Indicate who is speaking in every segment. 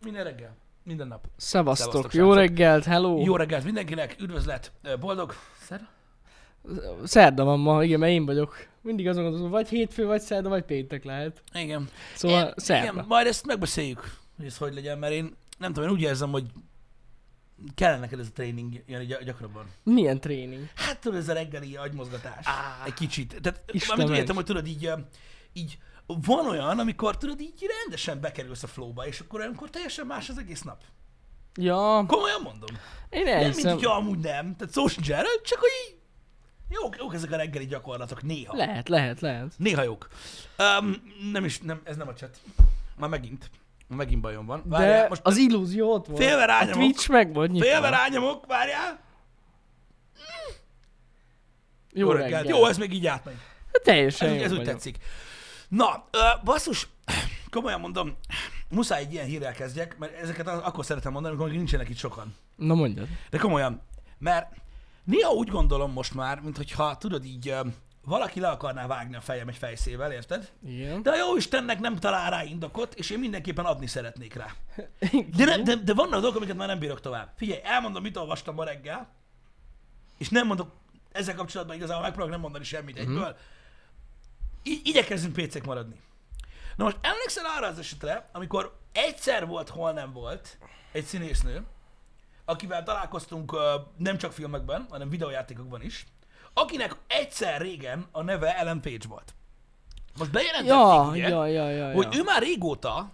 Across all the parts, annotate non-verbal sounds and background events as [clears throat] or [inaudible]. Speaker 1: minden reggel, minden nap.
Speaker 2: Szevasztok,
Speaker 1: Szevasztok,
Speaker 2: jó
Speaker 1: srácok.
Speaker 2: reggelt, hello!
Speaker 1: Jó reggelt mindenkinek, üdvözlet, ö, boldog, szer.
Speaker 2: Szerda van ma, igen, mert én vagyok. Mindig azon gondolom, vagy hétfő, vagy szerda, vagy péntek lehet.
Speaker 1: Igen.
Speaker 2: Szóval
Speaker 1: Én-
Speaker 2: szerda.
Speaker 1: Igen, majd ezt megbeszéljük, hogy ez hogy legyen, mert én nem tudom, én úgy érzem, hogy kellene neked ez a tréning ilyen gy- gyakrabban.
Speaker 2: Milyen tréning?
Speaker 1: Hát tudod, ez a reggeli agymozgatás.
Speaker 2: Á.
Speaker 1: Egy kicsit. Tehát,
Speaker 2: Istenem.
Speaker 1: amit úgy értem, hogy tudod így, ö, így van olyan, amikor tudod így rendesen bekerülsz a flowba, és akkor olyankor teljesen más az egész nap.
Speaker 2: Ja,
Speaker 1: Komolyan mondom. Nem,
Speaker 2: én
Speaker 1: mint
Speaker 2: elhiszem.
Speaker 1: hogyha amúgy nem. Tehát szó sincs erről, csak hogy így... Jók, jók ezek a reggeli gyakorlatok, néha.
Speaker 2: Lehet, lehet, lehet.
Speaker 1: Néha jók. Um, nem is, nem, ez nem a chat. Már megint. Már megint bajom van.
Speaker 2: De
Speaker 1: Várjál,
Speaker 2: most
Speaker 1: most
Speaker 2: az illúzió ott volt.
Speaker 1: Félve
Speaker 2: a
Speaker 1: rányomok.
Speaker 2: Twitch meg volt nyitva.
Speaker 1: félve rányomok, várjál.
Speaker 2: Jó reggelt.
Speaker 1: Jó, ez még így átmegy.
Speaker 2: Hát Teljesen
Speaker 1: Ez,
Speaker 2: jó
Speaker 1: ez úgy
Speaker 2: vagyok.
Speaker 1: tetszik. Na, ö, basszus, komolyan mondom, muszáj egy ilyen hírrel kezdjek, mert ezeket a- akkor szeretem mondani, amikor még nincsenek itt sokan.
Speaker 2: Na mondjad.
Speaker 1: De komolyan, mert néha úgy gondolom most már, mintha tudod így, ö, valaki le akarná vágni a fejem egy fejszével, érted?
Speaker 2: Igen.
Speaker 1: De a jó Istennek nem talál rá indokot, és én mindenképpen adni szeretnék rá. De, ne, de, de vannak dolgok, amiket már nem bírok tovább. Figyelj, elmondom, mit olvastam ma reggel, és nem mondok ezzel kapcsolatban igazából megpróbálok nem mondani semmit egyből. I- igyekezzünk pécek maradni. Na most emlékszel arra az esetre, amikor egyszer volt, hol nem volt egy színésznő, akivel találkoztunk ö, nem csak filmekben, hanem videójátékokban is, akinek egyszer régen a neve Ellen Page volt. Most bejelentették,
Speaker 2: Ja,
Speaker 1: ugye,
Speaker 2: ja, ja, ja,
Speaker 1: hogy
Speaker 2: ja.
Speaker 1: ő már régóta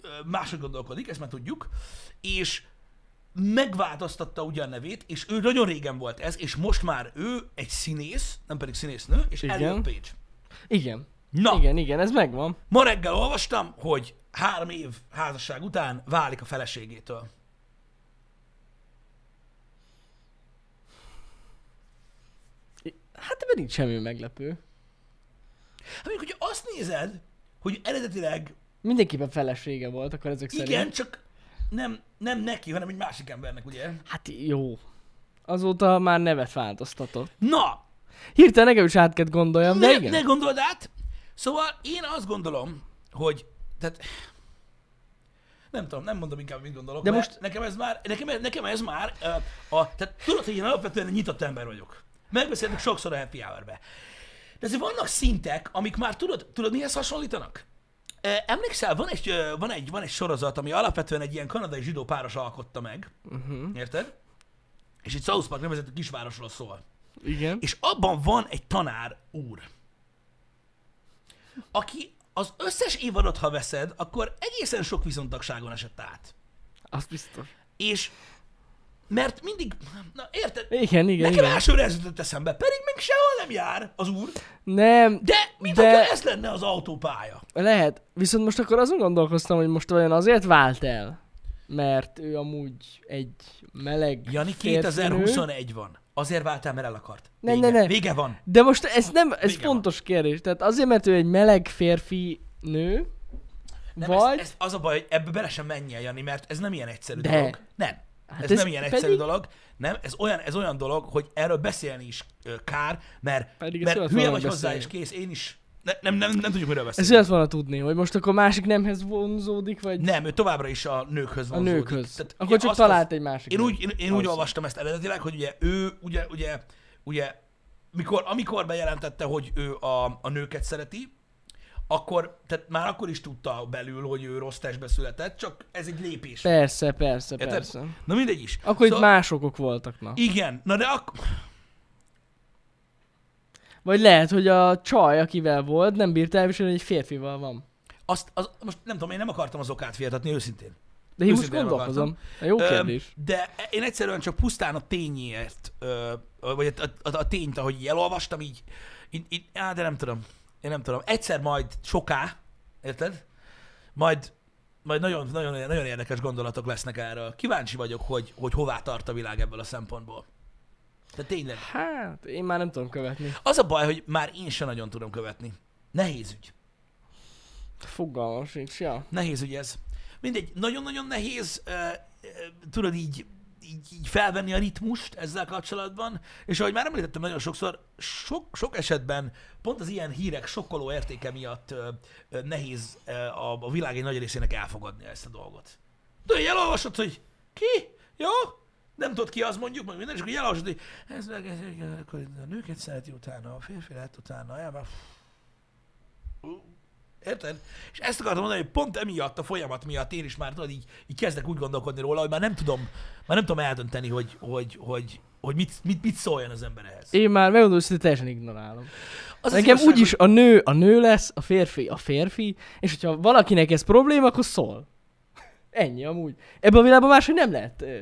Speaker 1: ö, máshogy gondolkodik, ezt már tudjuk, és megváltoztatta ugyan nevét, és ő nagyon régen volt ez, és most már ő egy színész, nem pedig színésznő, és
Speaker 2: Igen.
Speaker 1: Ellen Page.
Speaker 2: Igen.
Speaker 1: Na, Igen.
Speaker 2: Igen, igen, ez megvan.
Speaker 1: ma reggel olvastam, hogy három év házasság után válik a feleségétől.
Speaker 2: Hát ebben nincs semmi meglepő.
Speaker 1: Hát mondjuk, hogyha azt nézed, hogy eredetileg
Speaker 2: Mindenképpen felesége volt, akkor ezek szerint.
Speaker 1: igen, csak nem, nem neki, hanem egy másik embernek, ugye?
Speaker 2: Hát jó. Azóta már nevet változtatott.
Speaker 1: Na,
Speaker 2: Hirtelen nekem is át kell gondoljam, de
Speaker 1: ne,
Speaker 2: igen.
Speaker 1: ne gondold át. Szóval én azt gondolom, hogy tehát nem tudom, nem mondom inkább, mit gondolok,
Speaker 2: De
Speaker 1: de most
Speaker 2: most-
Speaker 1: nekem ez már, nekem, ez- nekem ez már uh, a, tehát tudod, hogy én alapvetően egy nyitott ember vagyok. Megbeszéltük sokszor a happy hour-be. De azért vannak szintek, amik már tudod, tudod mihez hasonlítanak? Ö, Emlékszel, van egy, ö, van, egy, van egy sorozat, ami alapvetően egy ilyen kanadai zsidó páros alkotta meg,
Speaker 2: Mhm.
Speaker 1: uh-huh. érted? És egy South Park nevezetű kisvárosról szól.
Speaker 2: Igen.
Speaker 1: És abban van egy tanár úr, aki az összes évadot, ha veszed, akkor egészen sok viszontagságon esett át.
Speaker 2: Az biztos.
Speaker 1: És mert mindig, na érted,
Speaker 2: Igen, igen,
Speaker 1: nekem
Speaker 2: igen.
Speaker 1: elsőre ez jutott eszembe, pedig még sehol nem jár az úr,
Speaker 2: Nem,
Speaker 1: de mint
Speaker 2: De-
Speaker 1: de... ez lenne az autópálya.
Speaker 2: lehet. Viszont most akkor azon gondolkoztam, hogy most olyan azért vált el, mert ő amúgy egy meleg
Speaker 1: Jani,
Speaker 2: férfinő.
Speaker 1: 2021 van. Azért váltál, mert el akart.
Speaker 2: Ne,
Speaker 1: Vége,
Speaker 2: ne, ne.
Speaker 1: Vége van.
Speaker 2: De most ez nem, ez
Speaker 1: Vége
Speaker 2: fontos kérdés. Tehát azért, mert ő egy meleg férfi nő,
Speaker 1: Nem,
Speaker 2: vagy...
Speaker 1: ez, ez az a baj, hogy ebbe bele sem menjél, Jani, mert ez nem ilyen egyszerű
Speaker 2: De.
Speaker 1: De. dolog. Nem.
Speaker 2: Hát
Speaker 1: Hát ez,
Speaker 2: ez
Speaker 1: ez nem ilyen
Speaker 2: pedig-
Speaker 1: egyszerű dolog. Nem, ez olyan, ez olyan dolog, hogy erről beszélni is ö, kár, mert,
Speaker 2: Pedig ez
Speaker 1: mert
Speaker 2: olyat
Speaker 1: hülye
Speaker 2: van,
Speaker 1: vagy hozzá, és
Speaker 2: beszéljünk.
Speaker 1: kész. Én is. Ne, nem, nem, nem tudjuk, miről
Speaker 2: Ez
Speaker 1: beszélni.
Speaker 2: olyat volna tudni, hogy most akkor másik nemhez vonzódik, vagy
Speaker 1: Nem, ő továbbra is a nőkhöz
Speaker 2: a
Speaker 1: van.
Speaker 2: nőkhöz. akkor csak talált egy másik.
Speaker 1: Én
Speaker 2: nőt.
Speaker 1: úgy, én, én úgy
Speaker 2: Valószínű.
Speaker 1: olvastam ezt eredetileg, hogy ugye ő, ugye, ugye, ugye, mikor, amikor bejelentette, hogy ő a, a nőket szereti, akkor, tehát már akkor is tudta belül, hogy ő rossz testbe született, csak ez egy lépés.
Speaker 2: Persze, persze,
Speaker 1: Érted?
Speaker 2: persze.
Speaker 1: Na mindegy is.
Speaker 2: Akkor itt más okok voltak, na.
Speaker 1: Igen, na de akkor...
Speaker 2: Vagy lehet, hogy a csaj, akivel volt, nem bírta elviselni, hogy egy férfival van.
Speaker 1: Azt, az, most nem tudom, én nem akartam az okát féltetni, őszintén.
Speaker 2: De én most
Speaker 1: Őszintén nem
Speaker 2: gondolkozom. Na, jó kérdés.
Speaker 1: Öm, de én egyszerűen csak pusztán a tényért, ö, vagy a, a, a, a tényt, ahogy így elolvastam, így, így, így, á, de nem tudom. Én nem tudom. Egyszer majd soká, érted? Majd, majd nagyon, nagyon, nagyon érdekes gondolatok lesznek erről. Kíváncsi vagyok, hogy, hogy hová tart a világ ebből a szempontból. De tényleg.
Speaker 2: Hát, én már nem tudom követni.
Speaker 1: Az a baj, hogy már én sem nagyon tudom követni. Nehéz ügy.
Speaker 2: Fogalmam sincs, ja.
Speaker 1: Nehéz ugye ez. Mindegy, nagyon-nagyon nehéz, ö, ö, tudod így, így, így felvenni a ritmust ezzel kapcsolatban, és ahogy már említettem nagyon sokszor, sok, sok esetben pont az ilyen hírek sokkoló értéke miatt ö, ö, nehéz ö, a, a világ egy nagy részének elfogadni ezt a dolgot. De így elolvasod, hogy ki? Jó? Nem tudod ki az mondjuk, meg minden, és akkor így elolvasod, hogy ez meg, ez, meg, akkor a nőket szereti utána, a férfi lehet utána, ja, már... Érted? És ezt akartam mondani, hogy pont emiatt, a folyamat miatt én is már tudod, így, így kezdek úgy gondolkodni róla, hogy már nem tudom, már nem tudom eldönteni, hogy, hogy, hogy, hogy mit, mit, mit szóljon az ember ehhez.
Speaker 2: Én már megmondom, hogy teljesen ignorálom.
Speaker 1: Az az
Speaker 2: Nekem
Speaker 1: igazság,
Speaker 2: úgyis a nő a nő lesz, a férfi a férfi, és hogyha valakinek ez probléma, akkor szól. Ennyi amúgy. Ebben a világban máshogy nem lehet ö,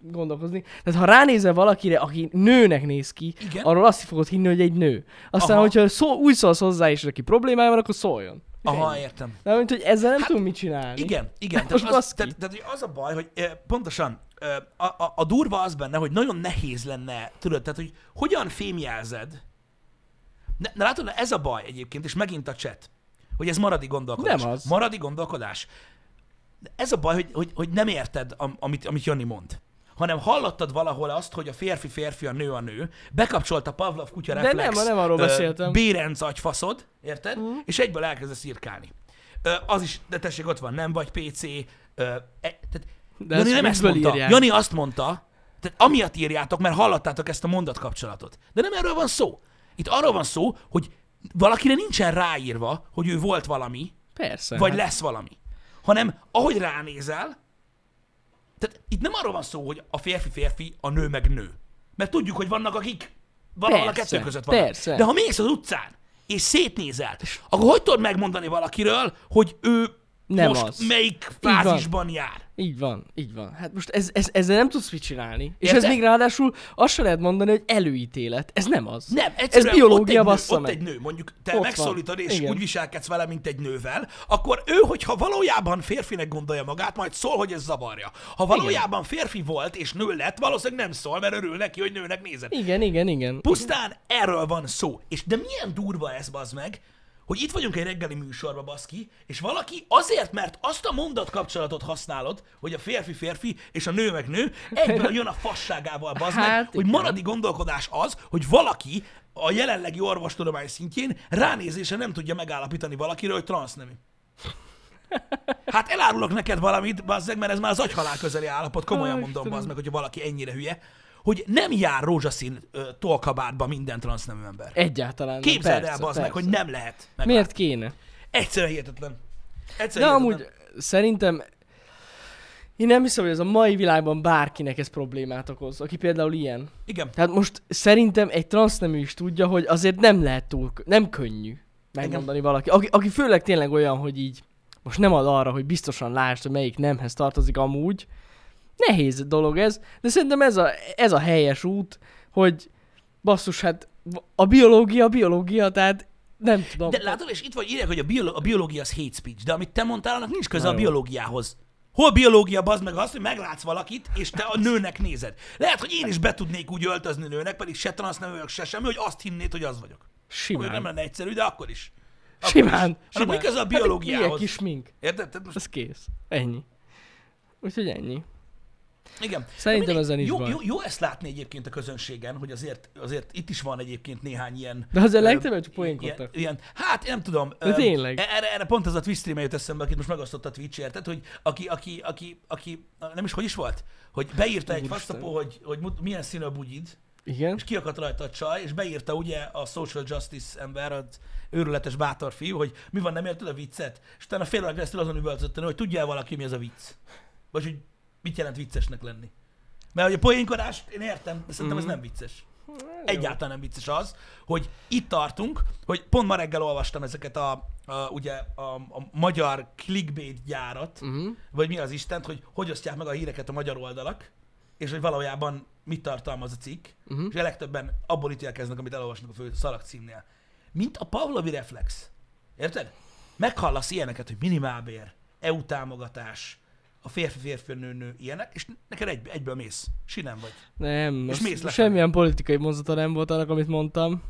Speaker 2: gondolkozni. Tehát ha ránézel valakire, aki nőnek néz ki,
Speaker 1: Igen.
Speaker 2: arról azt fogod hinni, hogy egy nő. Aztán,
Speaker 1: Aha.
Speaker 2: hogyha szó, úgy szólsz hozzá is, aki problémája van, akkor szóljon. És
Speaker 1: Hogy... Aha,
Speaker 2: ennyi.
Speaker 1: értem.
Speaker 2: De mint, hogy ezzel nem
Speaker 1: Hát,
Speaker 2: hát, tudunk mit csinálni.
Speaker 1: Igen,
Speaker 2: [laughs]
Speaker 1: igen.
Speaker 2: Most
Speaker 1: Tehát az,
Speaker 2: baszki.
Speaker 1: tehát, tehát, hogy az a baj, hogy eh, pontosan eh, a, a, a durva az benne, hogy nagyon nehéz lenne, tudod, tehát hogy hogyan fémjelzed. Na, na látod, na ez a baj egyébként, és megint a chat, hogy ez maradi gondolkodás.
Speaker 2: Nem az.
Speaker 1: Maradi gondolkodás. De Ez a baj, hogy, hogy, hogy nem érted, am- amit, amit Jani mond hanem hallottad valahol azt, hogy a férfi férfi, a nő a nő, bekapcsolt a Pavlov kutya
Speaker 2: De
Speaker 1: reflex.
Speaker 2: nem, nem arról
Speaker 1: ö,
Speaker 2: beszéltem.
Speaker 1: Bérenc agyfaszod, érted? Mm. És egyből elkezdesz irkálni. Ö, az is, de tessék, ott van, nem vagy PC. Ö, e, tehát,
Speaker 2: De
Speaker 1: Jani
Speaker 2: ezt
Speaker 1: nem ezt
Speaker 2: miből
Speaker 1: mondta.
Speaker 2: írják?
Speaker 1: Jani azt mondta, tehát amiatt írjátok, mert hallottátok ezt a mondatkapcsolatot. De nem erről van szó. Itt arról van szó, hogy valakire nincsen ráírva, hogy ő volt valami,
Speaker 2: Persze.
Speaker 1: vagy
Speaker 2: hát.
Speaker 1: lesz valami. Hanem ahogy ránézel, tehát itt nem arról van szó, hogy a férfi férfi, a nő meg nő. Mert tudjuk, hogy vannak, akik valahol a
Speaker 2: Persze,
Speaker 1: kettő között vannak.
Speaker 2: persze.
Speaker 1: De ha mész az utcán, és szétnézel, akkor hogy tudod megmondani valakiről, hogy ő
Speaker 2: Nem
Speaker 1: most
Speaker 2: az.
Speaker 1: melyik
Speaker 2: van.
Speaker 1: fázisban jár?
Speaker 2: Így van, így van. Hát most ez, ez, ezzel nem tudsz mit csinálni. És
Speaker 1: Érted?
Speaker 2: ez még ráadásul azt se lehet mondani, hogy előítélet. Ez nem az.
Speaker 1: Nem,
Speaker 2: ez
Speaker 1: egyszerűen
Speaker 2: biológia
Speaker 1: ott egy,
Speaker 2: bassza
Speaker 1: nő, ott
Speaker 2: meg.
Speaker 1: egy nő, mondjuk te
Speaker 2: Ott van.
Speaker 1: megszólítod, és Igen.
Speaker 2: Igen.
Speaker 1: úgy viselkedsz vele, mint egy nővel, akkor ő, hogyha valójában férfinek gondolja magát, majd szól, hogy ez zavarja. Ha valójában férfi volt, és nő lett, valószínűleg nem szól, mert örül neki, hogy nőnek nézett.
Speaker 2: Igen, igen, igen.
Speaker 1: Pusztán erről van szó. És de milyen durva ez, bazd meg, hogy itt vagyunk egy reggeli műsorba, baszki, és valaki azért, mert azt a mondatkapcsolatot használod, hogy a férfi férfi és a nő meg nő, egyből jön a fasságával, bazd meg,
Speaker 2: Hát
Speaker 1: hogy
Speaker 2: igen.
Speaker 1: maradi gondolkodás az, hogy valaki a jelenlegi orvostudomány szintjén ránézése nem tudja megállapítani valakiről, hogy transznemű. Hát elárulok neked valamit, bazzeg, mert ez már az agyhalál közeli állapot, komolyan
Speaker 2: Ó,
Speaker 1: mondom,
Speaker 2: Istenem.
Speaker 1: bazd meg, hogyha valaki ennyire hülye, hogy nem jár rózsaszín ö, tolkabátba minden transznemű ember.
Speaker 2: Egyáltalán nem.
Speaker 1: Képzeld
Speaker 2: persze,
Speaker 1: el, bazd meg,
Speaker 2: persze.
Speaker 1: hogy nem lehet. Meg
Speaker 2: Miért kéne?
Speaker 1: Egyszerűen hihetetlen.
Speaker 2: De
Speaker 1: Egyszerűen hihetetlen.
Speaker 2: amúgy szerintem én nem hiszem, hogy ez a mai világban bárkinek ez problémát okoz, aki például ilyen.
Speaker 1: Igen.
Speaker 2: Tehát most szerintem egy transznemű is tudja, hogy azért nem lehet túl, kö- nem könnyű megmondani valaki. Aki, aki főleg tényleg olyan, hogy így most nem ad arra, hogy biztosan lásd, hogy melyik nemhez tartozik amúgy. Nehéz dolog ez, de szerintem ez a, ez a helyes út, hogy basszus, hát a biológia, a biológia, tehát nem tudom.
Speaker 1: De látod, és itt vagy írják, hogy a, biolo- a biológia az hate speech, de amit te mondtál, annak nincs köze
Speaker 2: Na
Speaker 1: a
Speaker 2: jó.
Speaker 1: biológiához. Hol biológia, bazd meg azt, hogy meglátsz valakit, és te a nőnek nézed. Lehet, hogy én is be tudnék úgy öltözni nőnek, pedig se transz nem vagyok, se semmi, hogy azt hinnéd, hogy az vagyok. Simán.
Speaker 2: simán.
Speaker 1: nem lenne egyszerű, de akkor is. Akkor
Speaker 2: Simán.
Speaker 1: Is. Simán.
Speaker 2: simán.
Speaker 1: mi köze a
Speaker 2: Hát egy
Speaker 1: biológiához?
Speaker 2: Ilyen kis mink.
Speaker 1: Érted? Tehát most,
Speaker 2: Ez kész. Ennyi. Úgyhogy ennyi.
Speaker 1: igen.
Speaker 2: Szerintem
Speaker 1: Mindegy,
Speaker 2: ezen is
Speaker 1: jó,
Speaker 2: baj.
Speaker 1: jó, jó, ezt látni egyébként a közönségen, hogy azért, azért itt is van egyébként néhány ilyen...
Speaker 2: De azért
Speaker 1: ö,
Speaker 2: legtöbben csak
Speaker 1: ilyen,
Speaker 2: poénkodtak.
Speaker 1: ilyen, hát én nem tudom.
Speaker 2: De
Speaker 1: ö,
Speaker 2: tényleg.
Speaker 1: e- Erre, erre pont az a Twitch stream jut eszembe, akit most megosztott a Twitch, érted? Hogy aki, aki, aki, aki, nem is hogy is volt? Hogy beírta egy
Speaker 2: Úristen.
Speaker 1: fasztapó, hogy, hogy mut- milyen színű a bugyid,
Speaker 2: Igen.
Speaker 1: és kiakadt rajta a csaj, és beírta ugye a social justice ember, az őrületes bátor fiú, hogy mi van, nem érted a viccet? És utána fél óra keresztül azon üvöltöttem, hogy tudja valaki, mi ez a vicc? Vagy hogy mit jelent viccesnek lenni? Mert hogy a poénkodást én értem, de szerintem ez nem vicces. Egyáltalán nem vicces az, hogy itt tartunk, hogy pont ma reggel olvastam ezeket a, a ugye a, a magyar clickbait gyárat,
Speaker 2: Uh-huh.
Speaker 1: vagy mi az Istent, hogy hogy osztják meg a híreket a magyar oldalak, és hogy valójában mit tartalmaz a cikk, uh-huh.
Speaker 2: Mhm.
Speaker 1: és a legtöbben abból ítélkeznek, amit elolvasnak a fő szalagcímnél. Mint a Pavlovi reflex. Érted? Meghallasz ilyeneket, hogy minimálbér, EU támogatás, a férfi férfi nő nő ilyenek, és neked egy, egyből mész. Sinem vagy.
Speaker 2: Nem,
Speaker 1: És
Speaker 2: és
Speaker 1: mész
Speaker 2: mész
Speaker 1: lefelé.
Speaker 2: semmilyen politikai mozdata nem volt annak, amit mondtam.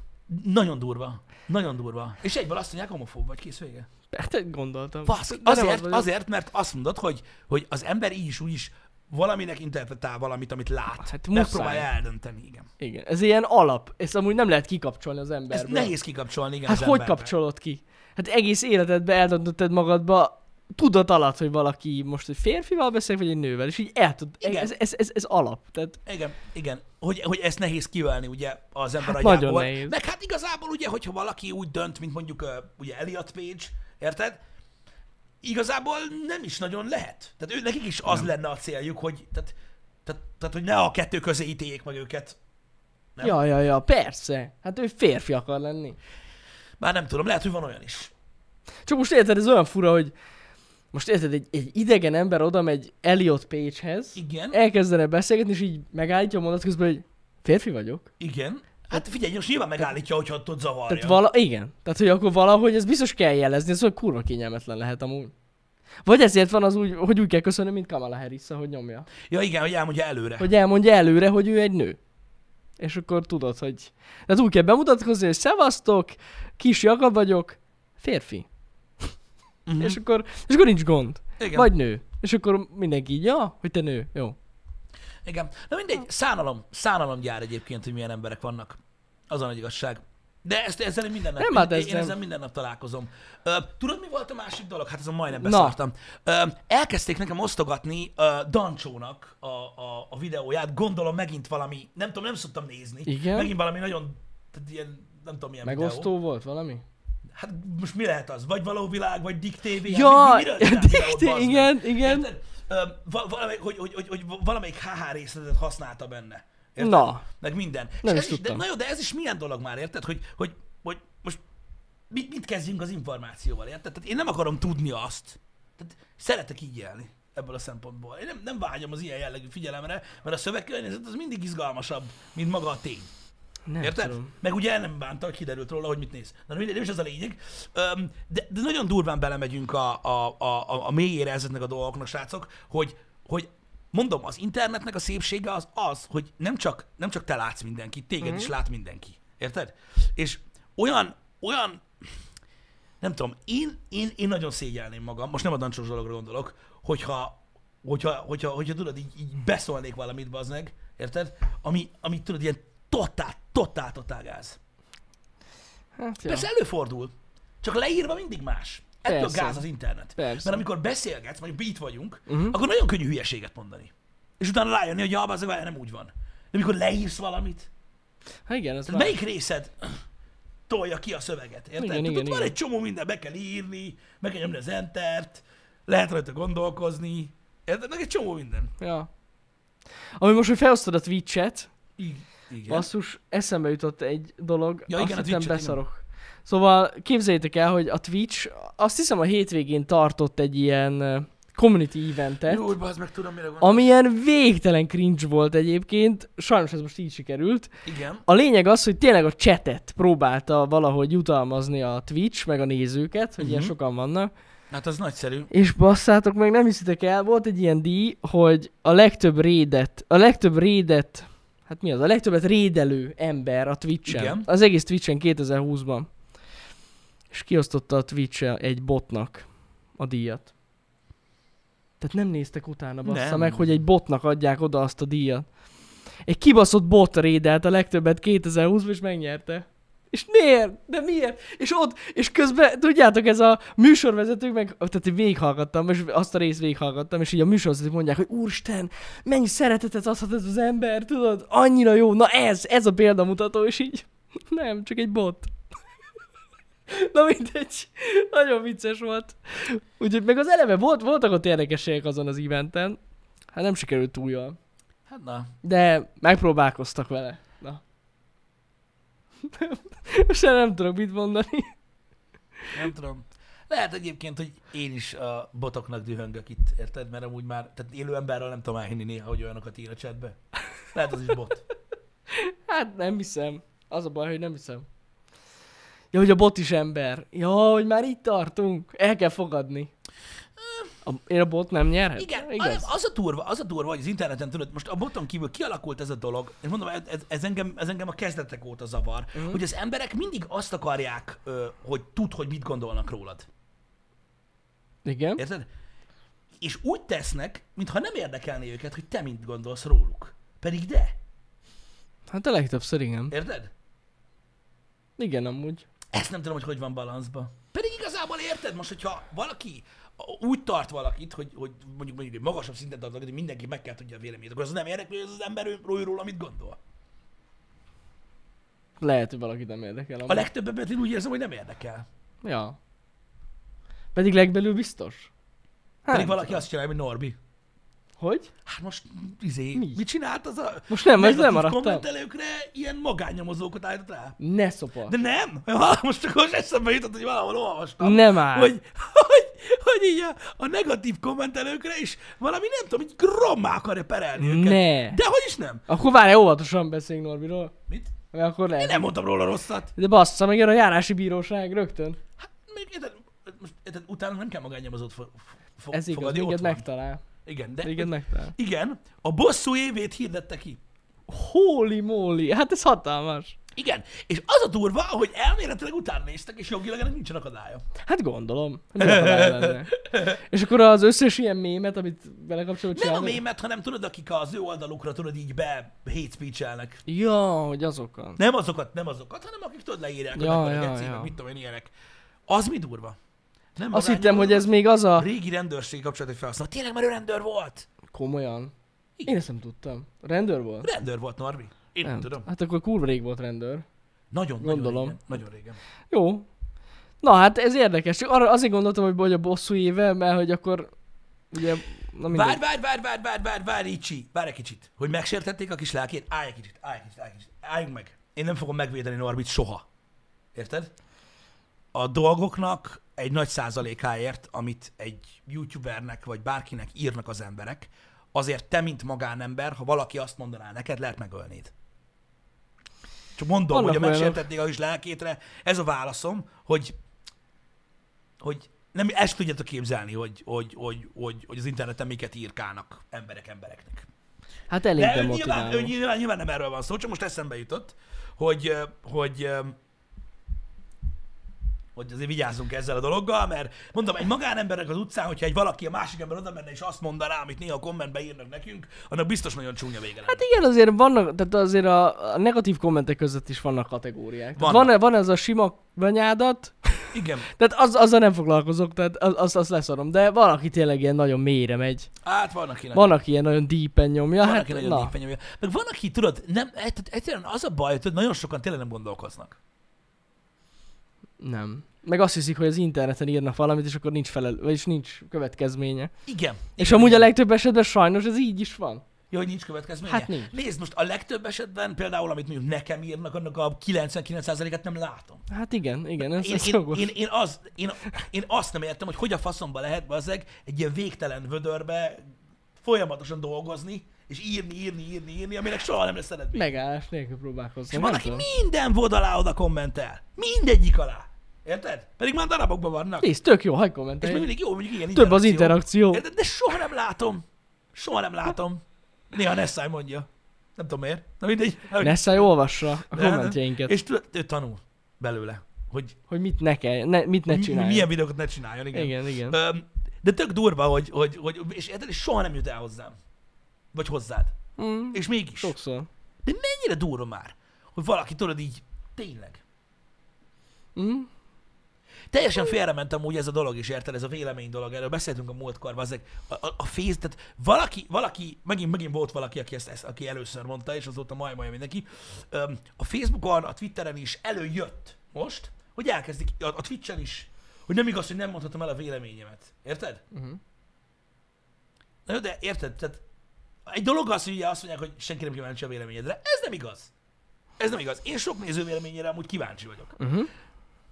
Speaker 1: Nagyon durva. Nagyon durva. És egyből azt mondják, homofób vagy, kész vége.
Speaker 2: Hát gondoltam.
Speaker 1: Basz,
Speaker 2: De nem az
Speaker 1: azért,
Speaker 2: vagyok.
Speaker 1: azért, mert azt mondod, hogy, hogy az ember így is úgy is valaminek interpretál valamit, amit lát.
Speaker 2: Hát muszáj.
Speaker 1: Megpróbálja eldönteni, igen.
Speaker 2: Igen, ez ilyen alap. Ezt amúgy nem lehet kikapcsolni az
Speaker 1: Ez
Speaker 2: emberből.
Speaker 1: nehéz kikapcsolni, igen.
Speaker 2: Hát
Speaker 1: az
Speaker 2: hogy
Speaker 1: emberben.
Speaker 2: kapcsolod ki? Hát egész életedbe eldöntötted magadba tudat alatt, hogy valaki most egy férfival beszél, vagy egy nővel, és így el tud,
Speaker 1: Igen.
Speaker 2: ez, ez, ez, ez alap. Tehát
Speaker 1: Igen, igen. Hogy, hogy ezt nehéz kiválni ugye az ember
Speaker 2: Hát
Speaker 1: agyából.
Speaker 2: nagyon nehéz.
Speaker 1: Meg hát igazából ugye, hogyha valaki úgy dönt, mint mondjuk ö, ugye Elliot Page, érted? Igazából nem is nagyon lehet. Tehát ő, nekik is az nem. lenne a céljuk, hogy tehát, tehát, tehát, hogy ne a kettő közé ítéljék meg őket. Nem.
Speaker 2: Ja, ja, ja, persze. Hát ő férfi akar lenni.
Speaker 1: Bár nem tudom, lehet, hogy van olyan is.
Speaker 2: Csak most érted, ez olyan fura, hogy most érted, egy, egy idegen ember oda megy Elliot Page-hez,
Speaker 1: Igen,
Speaker 2: elkezdene beszélgetni, és így megállítja a mondat közben, hogy férfi vagyok.
Speaker 1: igen. Hát figyelj, most nyilván megállítja, hogyha ott, ott zavarja.
Speaker 2: Tehát vala, igen. Tehát, hogy akkor valahogy ez biztos kell jelezni, ez olyan kurva kényelmetlen lehet amúgy. Vagy ezért van az úgy, hogy úgy kell köszönöm, mint Kamala harris hogy nyomja.
Speaker 1: Ja igen, hogy elmondja előre.
Speaker 2: Hogy elmondja előre, hogy ő egy nő. És akkor tudod, hogy... Tehát úgy kell bemutatkozni, hogy szevasztok, kis Jakab vagyok, férfi.
Speaker 1: Mhm.
Speaker 2: És, akkor, és akkor nincs gond.
Speaker 1: Igen.
Speaker 2: Vagy nő. És akkor mindenki így, ja, hogy te nő. Jó.
Speaker 1: Igen. Na mindegy, szánalom, szánalomgyár egyébként, hogy milyen emberek vannak. Az a nagy igazság. De ezt, ezzel én minden nap,
Speaker 2: Nem, hát
Speaker 1: én,
Speaker 2: ez
Speaker 1: én
Speaker 2: nem.
Speaker 1: ezzel minden nap találkozom. Ö, tudod, mi volt a másik dolog? Hát azon majdnem
Speaker 2: Na.
Speaker 1: beszartam. Ö, elkezdték nekem osztogatni ö, Dancsónak a, a, a videóját, gondolom megint valami, nem tudom, nem szoktam nézni.
Speaker 2: Igen?
Speaker 1: Megint valami nagyon, tehát ilyen, nem tudom, milyen videó.
Speaker 2: Megosztó volt valami?
Speaker 1: Hát most mi lehet az? Vagy való világ, vagy Dick TV? hát mi-
Speaker 2: Ja,
Speaker 1: miről csinál videót, bazd meg?
Speaker 2: igen, igen.
Speaker 1: Érted? Ö, va- valamelyik, hogy, hogy, hogy, hogy valamelyik HH részletet használta benne. Érted?
Speaker 2: Na.
Speaker 1: Meg minden. És
Speaker 2: Nem
Speaker 1: ez
Speaker 2: is
Speaker 1: de,
Speaker 2: tudtam.
Speaker 1: na jó, de ez is milyen dolog már, érted? Hogy, hogy, hogy most mit, mit kezdjünk az információval, érted? Tehát én nem akarom tudni azt. Tehát szeretek így élni ebből a szempontból. Én nem, nem vágyom az ilyen jellegű figyelemre, mert a szövegkörnyezet az mindig izgalmasabb, mint maga a tény.
Speaker 2: Nem
Speaker 1: Érted?
Speaker 2: tudom.
Speaker 1: Meg ugye el nem bánta, kiderült róla, hogy mit néz. Na mindegy, nem is ez a lényeg. Öm, de, de nagyon durván belemegyünk a, a, a, a, a mélyére ezeknek a dolgoknak, srácok, hogy, hogy mondom, az internetnek a szépsége az az, hogy nem csak, nem csak te látsz mindenkit, téged is lát mindenki. Érted? És olyan, olyan nem tudom, én, én, én nagyon szégyelném magam, most nem a dancsos dologra gondolok, hogyha, hogyha, hogyha, hogyha tudod, így, így beszólnék valamit, bazd meg, érted? Ami, ami tudod, ilyen totál, totál, totál gáz.
Speaker 2: Hát, ja.
Speaker 1: Persze előfordul, csak leírva mindig más. Ettől
Speaker 2: Persze.
Speaker 1: gáz az internet.
Speaker 2: Persze. Mhm.
Speaker 1: Mert amikor beszélgetsz, mondjuk itt vagyunk, uh-huh. akkor nagyon könnyű hülyeséget mondani. És utána rájönni, hogy ja, bazd meg, nem úgy van. De amikor leírsz valamit,
Speaker 2: Hát igen, az
Speaker 1: tehát melyik részed [clears throat] tolja ki a szöveget, érted?
Speaker 2: Igen,
Speaker 1: Tehát
Speaker 2: igen,
Speaker 1: ott van
Speaker 2: igen.
Speaker 1: egy csomó minden, be kell írni, meg kell nyomni az entert, lehet rajta gondolkozni, érted? Meg egy csomó minden.
Speaker 2: Ja. Ami most, hogy felosztod a Twitch-et,
Speaker 1: I- igen.
Speaker 2: basszus, eszembe jutott egy dolog,
Speaker 1: Ja,
Speaker 2: ja, azt
Speaker 1: igen, a
Speaker 2: igen, hittem
Speaker 1: Twitch-et,
Speaker 2: beszarok. Igen. Szóval képzeljétek el, hogy a Twitch, azt hiszem a hétvégén tartott egy ilyen ö, community eventet,
Speaker 1: Jó, az meg tudom, mire gondolsz.
Speaker 2: amilyen végtelen cringe volt egyébként, sajnos ez most így sikerült.
Speaker 1: Igen.
Speaker 2: A lényeg az, hogy tényleg a chatet próbálta valahogy jutalmazni a Twitch, meg a nézőket, hogy ilyen
Speaker 1: Mhm.
Speaker 2: sokan vannak,
Speaker 1: Hát az nagyszerű.
Speaker 2: és basszátok meg, nem hiszitek el, volt egy ilyen díj, hogy a legtöbb rédet, a legtöbb rédet, hát mi az, a legtöbbet rédelő ember a Twitch-en.
Speaker 1: Igen.
Speaker 2: Az egész Twitch-en 2020-ban. És kiosztotta a twitch egy botnak a díjat. Tehát nem néztek utána bassza
Speaker 1: Nem.
Speaker 2: meg, hogy egy botnak adják oda azt a díjat. Egy kibaszott bot rédelt a legtöbbet 2020-ban, és megnyerte. És miért? De miért? És ott, és közben, tudjátok, ez a műsorvezetők meg, tehát én végighallgattam, és azt a részt végighallgattam, és így a műsorvezetők mondják, hogy úristen, mennyi szeretetet adhat ez az ember, tudod, annyira jó, na ez, ez a példamutató, és így, nem, csak egy bot. [laughs] Na mindegy, nagyon vicces volt. Úgyhogy meg az eleve volt, voltak ott érdekességek azon az eventen. Hát nem sikerült túl jól.
Speaker 1: Hát na.
Speaker 2: De megpróbálkoztak vele. Na. [laughs] Most már nem tudok mit mondani.
Speaker 1: Nem tudom. Lehet egyébként, hogy én is a botoknak dühöngök itt, érted? Mert amúgy már, tehát élő emberrel nem tudom elhinni néha, hogy olyanokat ír a chatbe. Lehet az is bot.
Speaker 2: Hát nem hiszem. Az a baj, hogy nem hiszem. Ja, hogy a bot is ember. Ja, hogy már itt tartunk. El kell fogadni. A, én a bot nem nyerhet?
Speaker 1: Igen,
Speaker 2: Hát, Igaz?
Speaker 1: az a durva, az a durva, hogy az interneten tudod, most a boton kívül kialakult ez a dolog, és mondom, ez, ez- ez, engem, ez engem a kezdetek óta zavar, uh-huh. hogy az emberek mindig azt akarják, ö, hogy tud, hogy mit gondolnak rólad.
Speaker 2: Igen.
Speaker 1: Érted? És úgy tesznek, mintha nem érdekelné őket, hogy te mit gondolsz róluk. Pedig de,
Speaker 2: Hát a legtöbbször igen.
Speaker 1: érted?
Speaker 2: Igen, amúgy.
Speaker 1: Ezt nem tudom, hogy hogy van balanszba. Pedig igazából érted most, hogyha valaki úgy tart valakit, hogy, hogy mondjuk mondjuk egy magasabb szinten tart valakit, hogy mindenki meg kell tudja a véleményét, akkor az nem érdekli, hogy az ember ő- róla, róla mit gondol.
Speaker 2: Lehet, hogy valakit nem érdekel.
Speaker 1: A
Speaker 2: amúgy.
Speaker 1: legtöbb embert én úgy érzem, hogy nem érdekel.
Speaker 2: Ja. Pedig legbelül biztos. Hát,
Speaker 1: Pedig
Speaker 2: nem
Speaker 1: valaki
Speaker 2: tudom.
Speaker 1: azt csinálja, hogy Norbi.
Speaker 2: Hogy?
Speaker 1: Hát most izé,
Speaker 2: Mi?
Speaker 1: mit csinált az a
Speaker 2: Most nem, ez
Speaker 1: negatív
Speaker 2: nem maradtam.
Speaker 1: kommentelőkre ilyen magánnyomozókat állított rá?
Speaker 2: Ne szopar.
Speaker 1: De nem! Ha, Most csak most eszembe jutott, hogy valahol olvastam.
Speaker 2: Nem áll.
Speaker 1: Hogy, hogy, hogy így a, a negatív kommentelőkre is valami, nem tudom, így grommá akarja perelni őket.
Speaker 2: Ne.
Speaker 1: De hogy is nem?
Speaker 2: Akkor várj, óvatosan beszéljünk Norbiról.
Speaker 1: Mit?
Speaker 2: Mert akkor lehet.
Speaker 1: Én nem mondtam róla rosszat.
Speaker 2: De bassza, meg jön a járási bíróság rögtön.
Speaker 1: Hát, még érted, most érted, utána nem kell magánnyomozót fo- fo-
Speaker 2: Ez igaz,
Speaker 1: fogadni,
Speaker 2: minket
Speaker 1: ott van.
Speaker 2: megtalál.
Speaker 1: Igen, de
Speaker 2: Minket megtalál.
Speaker 1: igen, a bosszú évét hirdette ki.
Speaker 2: Holy moly, hát ez hatalmas.
Speaker 1: Igen, és az a durva, hogy elméletileg utána néztek, és jogilag ennek nincsen akadálya.
Speaker 2: Hát gondolom. hogy nem
Speaker 1: [laughs]
Speaker 2: akadály lenne. És akkor az összes ilyen mémet, amit belekapcsolod
Speaker 1: Nem a
Speaker 2: csinálod?
Speaker 1: mémet, hanem tudod, akik az ő oldalukra tudod így be hate speech-elnek.
Speaker 2: Ja, hogy azokkal.
Speaker 1: Nem azokat, nem azokat, hanem akik tudod leírják, ja,
Speaker 2: Ja, ja,
Speaker 1: ja,
Speaker 2: ja.
Speaker 1: ja. mit tudom én, ilyenek. Az mi durva? Nem
Speaker 2: Azt
Speaker 1: magányom,
Speaker 2: hittem, hogy ez még az
Speaker 1: a
Speaker 2: a...
Speaker 1: régi rendőrségi kapcsolatot felhasznál. Tényleg már ő rendőr volt?
Speaker 2: Komolyan.
Speaker 1: Igen.
Speaker 2: Én ezt nem tudtam. Rendőr volt?
Speaker 1: Rendőr volt, Norbi. Én nem, tudom.
Speaker 2: Hát akkor kurva rég volt rendőr.
Speaker 1: Nagyon,
Speaker 2: Gondolom.
Speaker 1: nagyon régen. Nagyon régen.
Speaker 2: Jó. Na hát ez érdekes. Csak arra azért gondoltam, hogy vagy a bosszú éve, mert hogy akkor... Ugye, na mindegy.
Speaker 1: Várj, várj, várj, várj, várj, várj, várj, Ricsi, várj egy kicsit. Hogy megsértették a kis lelkét? Állj egy kicsit, állj egy kicsit, állj egy kicsit. Álljunk meg. Én nem fogom megvédeni Norbit soha. Érted? A dolgoknak egy nagy százalékáért, amit egy youtubernek vagy bárkinek írnak az emberek, azért te, mint magánember, ha valaki azt mondaná neked, lehet megölnéd. Csak mondom,
Speaker 2: Vannak
Speaker 1: hogy a
Speaker 2: olyanok.
Speaker 1: megsértették a kis lelkétre, ez a válaszom, hogy hogy nem, ezt tudjátok képzelni, hogy, hogy, hogy, hogy, hogy az interneten miket írkálnak emberek embereknek.
Speaker 2: Hát elég
Speaker 1: De ő nyilván, ő
Speaker 2: demotiváló.
Speaker 1: nyilván, nyilván, nem erről van szó, csak most eszembe jutott, hogy, ö, hogy, ö, hogy azért vigyázzunk ezzel a dologgal, mert mondom, egy magánembernek az utcán, hogyha egy valaki a másik ember oda menne és azt mondaná, amit néha a kommentbe írnak nekünk, annak biztos nagyon csúnya vége lenne.
Speaker 2: Hát igen, azért vannak, tehát azért a, a negatív kommentek között is vannak kategóriák. Tehát
Speaker 1: Vannak.
Speaker 2: Van, van ez a sima anyádat,
Speaker 1: Igen.
Speaker 2: tehát az, azzal nem foglalkozok, tehát az, az, az leszarom, de van, aki tényleg ilyen nagyon mélyre megy.
Speaker 1: Hát van, aki
Speaker 2: Van, aki ilyen nagyon deepen nyomja,
Speaker 1: Van,
Speaker 2: hát
Speaker 1: aki nagyon
Speaker 2: na.
Speaker 1: deepen nyomja. Meg van, aki, tudod, nem, egy- egyszerűen az a baj, hogy nagyon sokan tényleg nem gondolkoznak.
Speaker 2: Nem. Meg azt hiszik, hogy az interneten írnak valamit, és akkor nincs felel, vagyis nincs következménye.
Speaker 1: Igen.
Speaker 2: És
Speaker 1: igen,
Speaker 2: amúgy a
Speaker 1: igen.
Speaker 2: legtöbb esetben sajnos ez így is van.
Speaker 1: Jó, hogy nincs következménye?
Speaker 2: Hát nincs.
Speaker 1: Nézd, most a legtöbb esetben például, amit mondjuk nekem írnak, annak a 99%-át nem látom.
Speaker 2: Hát igen, igen, ez,
Speaker 1: Én,
Speaker 2: ez
Speaker 1: én,
Speaker 2: jogos.
Speaker 1: én, én, az, én, én azt nem értem, hogy hogy a faszomba lehet bazeg egy ilyen végtelen vödörbe folyamatosan dolgozni, és írni, írni, írni, írni, aminek soha nem lesz eredmény.
Speaker 2: Megállás nélkül
Speaker 1: És
Speaker 2: próbálkozom.
Speaker 1: van,
Speaker 2: Nem
Speaker 1: aki
Speaker 2: tudom.
Speaker 1: minden vod alá oda kommentel. Mindegyik alá. Érted? Pedig már darabokban vannak.
Speaker 2: Nézd, tök jó, hagyd
Speaker 1: És még
Speaker 2: kommentelj.
Speaker 1: mindig jó, mondjuk ilyen
Speaker 2: Több az interakció.
Speaker 1: Érted? De soha nem látom. Soha nem látom. Néha Nessai mondja. Nem tudom miért. Na mindegy.
Speaker 2: Nessai olvassa a
Speaker 1: De- de-
Speaker 2: kommentjeinket.
Speaker 1: És tudod, ő tanul belőle, hogy
Speaker 2: hogy mit ne kell, ne, mit ne
Speaker 1: mi,
Speaker 2: csinálj.
Speaker 1: milyen videókat ne csináljon. Igen.
Speaker 2: Igen, igen.
Speaker 1: Öm, de tök durva, hogy, hogy, hogy és érted, és soha nem jut el hozzám. Vagy hozzád.
Speaker 2: Mm,
Speaker 1: És mégis.
Speaker 2: sokszor.
Speaker 1: De mennyire durva már, hogy valaki tudod így, tényleg.
Speaker 2: Mm.
Speaker 1: Teljesen félrementem úgy ez a dolog is, érted? Ez a vélemény dolog, erről beszéltünk a múltkor, bazzeg. A, a, a fész, tehát valaki, valaki, megint, megint volt valaki, aki ezt, ezt aki először mondta, és azóta majd majd mindenki. Öm, A Facebookon, a Twitteren is előjött most, hogy elkezdik, a, a Twitchen is, hogy nem igaz, hogy nem mondhatom el a véleményemet. Érted?
Speaker 2: Mhm.
Speaker 1: Na jó, de érted? Tehát egy dolog az, hogy ugye azt mondják, hogy senki nem kíváncsi a véleményedre. Ez nem igaz. Ez nem igaz. Én sok néző véleményére amúgy kíváncsi vagyok.
Speaker 2: Uh-huh.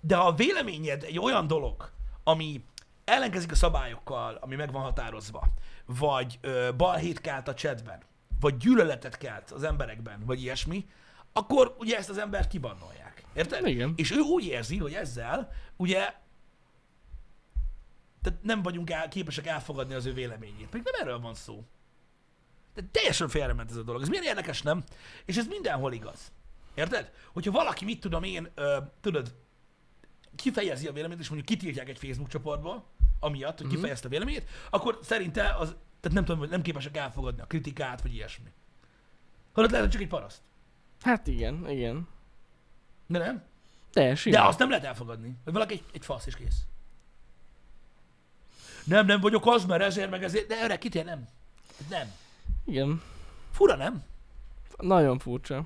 Speaker 1: De ha a véleményed egy olyan dolog, ami ellenkezik a szabályokkal, ami meg van határozva, vagy ö, balhét kelt a chatben, vagy gyűlöletet kelt az emberekben, vagy ilyesmi, akkor ugye ezt az embert kibannolják. Érted?
Speaker 2: Igen.
Speaker 1: És ő úgy érzi, hogy ezzel ugye tehát nem vagyunk el, képesek elfogadni az ő véleményét. Pedig nem erről van szó. De teljesen félrement ez a dolog. Ez milyen érdekes, nem? És ez mindenhol igaz. Érted? Hogyha valaki, mit tudom én, ö, tudod, kifejezi a véleményét, és mondjuk kitiltják egy Facebook csoportból, amiatt, hogy kifejezte a véleményét, akkor szerinte az, tehát nem tudom, hogy nem képesek elfogadni a kritikát, vagy ilyesmi. Holott lehet, hogy csak egy paraszt.
Speaker 2: Hát igen, igen.
Speaker 1: De nem?
Speaker 2: De
Speaker 1: De
Speaker 2: simán.
Speaker 1: azt nem lehet elfogadni, hogy valaki egy, egy fasz és kész. nem, nem vagyok az, mert ezért, meg ezért, de öreg, kitér, nem. Nem.
Speaker 2: Igen.
Speaker 1: Fura, nem?
Speaker 2: Nagyon furcsa.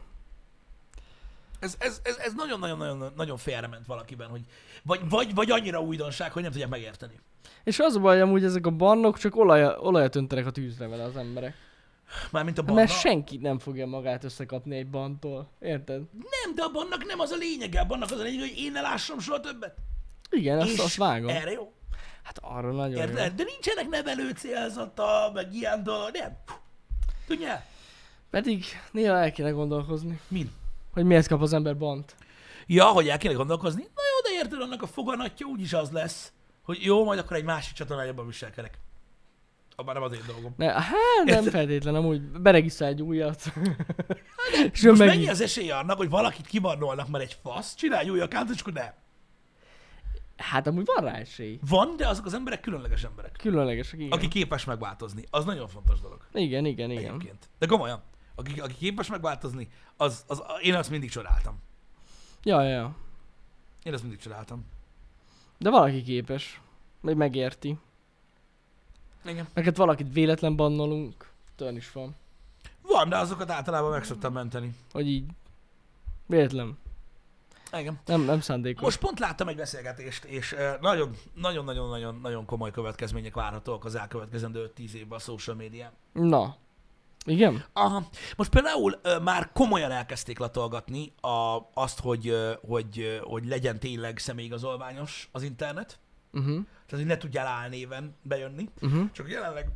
Speaker 1: Ez, ez, ez, ez nagyon-nagyon-nagyon nagyon félrement valakiben, hogy vagy, vagy, vagy annyira újdonság, hogy nem tudják megérteni.
Speaker 2: És az a baj, amúgy ezek a barnok csak olaj, olajat öntenek a tűzre vele az emberek.
Speaker 1: Mármint a
Speaker 2: Barna.
Speaker 1: barna.
Speaker 2: Mert senki nem fogja magát összekapni egy bantól. Érted?
Speaker 1: Nem, de a bannak nem az a lényege, a bannak az a lényege, hogy én ne lássam soha többet.
Speaker 2: Igen, azt, azt vágom.
Speaker 1: erre jó.
Speaker 2: Hát arra nagyon jó.
Speaker 1: er- Érted? De nincsenek nevelő célzata, meg ilyen dolog, nem. Tudjál?
Speaker 2: Pedig néha el kéne gondolkozni,
Speaker 1: Min?
Speaker 2: hogy miért kap az ember bant.
Speaker 1: Ja, hogy el kéne gondolkozni? Na jó, de érted, annak a foganatja úgyis az lesz, hogy jó, majd akkor egy másik csatornájában viselkedek. Abban nem az én dolgom.
Speaker 2: Ne, hát nem feltétlen, amúgy beregisztrál egy újat.
Speaker 1: Hát, Most
Speaker 2: És ő meg...
Speaker 1: mennyi az esélye annak, hogy valakit kibarnolnak, mert egy fasz, csinálj új account, és akkor nem.
Speaker 2: Hát amúgy van rá esély.
Speaker 1: Van, de azok az emberek különleges emberek.
Speaker 2: Különlegesek, igen.
Speaker 1: Aki képes megváltozni. Az nagyon fontos dolog.
Speaker 2: Igen, igen, igen.
Speaker 1: Egyébként. De komolyan. Aki, aki képes megváltozni, az, az, én azt mindig csodáltam.
Speaker 2: Ja, ja, ja.
Speaker 1: Én azt mindig csodáltam.
Speaker 2: De valaki képes. Meg megérti.
Speaker 1: Igen.
Speaker 2: Meg hát valakit véletlen bannolunk. Tön is van.
Speaker 1: Van, de azokat általában meg szoktam menteni.
Speaker 2: Hogy így. Véletlen.
Speaker 1: Igen.
Speaker 2: Nem, nem szándékos.
Speaker 1: Most pont láttam egy beszélgetést, és nagyon-nagyon-nagyon-nagyon komoly következmények várhatóak az elkövetkezendő 5-10 évben a social médián.
Speaker 2: Na. Igen?
Speaker 1: Aha. Most például ö, már komolyan elkezdték latolgatni a, azt, hogy, ö, hogy, ö, hogy legyen tényleg személyigazolványos az internet.
Speaker 2: Uh-huh.
Speaker 1: Tehát, hogy ne tudjál álnéven bejönni.
Speaker 2: Uh-huh.
Speaker 1: Csak jelenleg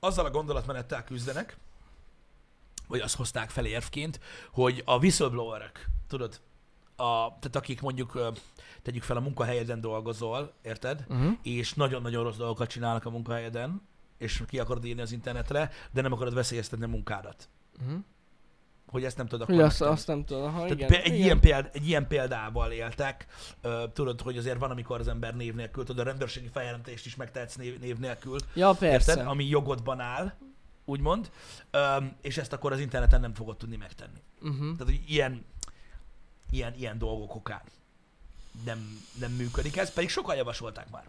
Speaker 1: azzal a gondolatmenettel küzdenek, vagy azt hozták fel érvként, hogy a whistleblowerek, tudod, a, tehát akik mondjuk, ö, tegyük fel a munkahelyeden dolgozol, érted?
Speaker 2: Uh-huh.
Speaker 1: és nagyon-nagyon rossz dolgokat csinálnak a munkahelyeden, és ki akarod írni az internetre, de nem akarod veszélyeztetni a munkádat.
Speaker 2: Uh-huh.
Speaker 1: Hogy ezt nem tudod akkor
Speaker 2: Ugye azt,
Speaker 1: megtenni.
Speaker 2: azt nem tudom. Aha,
Speaker 1: Tehát
Speaker 2: igen.
Speaker 1: pé- egy,
Speaker 2: igen.
Speaker 1: Ilyen péld, egy ilyen példával éltek. Ö, tudod, hogy azért van, amikor az ember név nélkül, tudod, a rendőrségi feljelentést is megtehetsz név, név nélkül,
Speaker 2: Ja, persze.
Speaker 1: érted? Ami jogodban áll, úgymond, Ö, és ezt akkor az interneten nem fogod tudni megtenni.
Speaker 2: Uh-huh.
Speaker 1: Tehát, hogy ilyen, ilyen, ilyen dolgok okán nem, nem működik ez, pedig sokan javasolták már.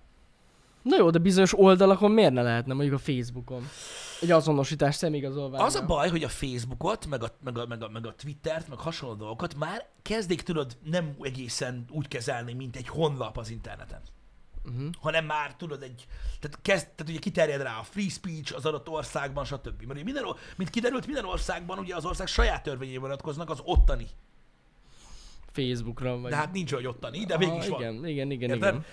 Speaker 2: Na jó, de bizonyos oldalakon miért ne lehetne, mondjuk a Facebookon? Egy azonosítás szemigazolványa.
Speaker 1: Az a baj, hogy a Facebookot, meg a, meg, a, meg, a, meg a Twittert, meg hasonló dolgokat már kezdik, tudod, nem egészen úgy kezelni, mint egy honlap az interneten.
Speaker 2: Uh-huh.
Speaker 1: Hanem már, tudod, egy, tehát, kezd, tehát ugye kiterjed rá a free speech az adott országban, stb. Mert ugye minden, o- mint kiderült, minden országban ugye az ország saját törvényei vonatkoznak az ottani.
Speaker 2: Facebookra vagy.
Speaker 1: De hát nincs, hogy ottani, de
Speaker 2: Aha,
Speaker 1: mégis van.
Speaker 2: Igen, igen, igen,
Speaker 1: Érted?
Speaker 2: igen.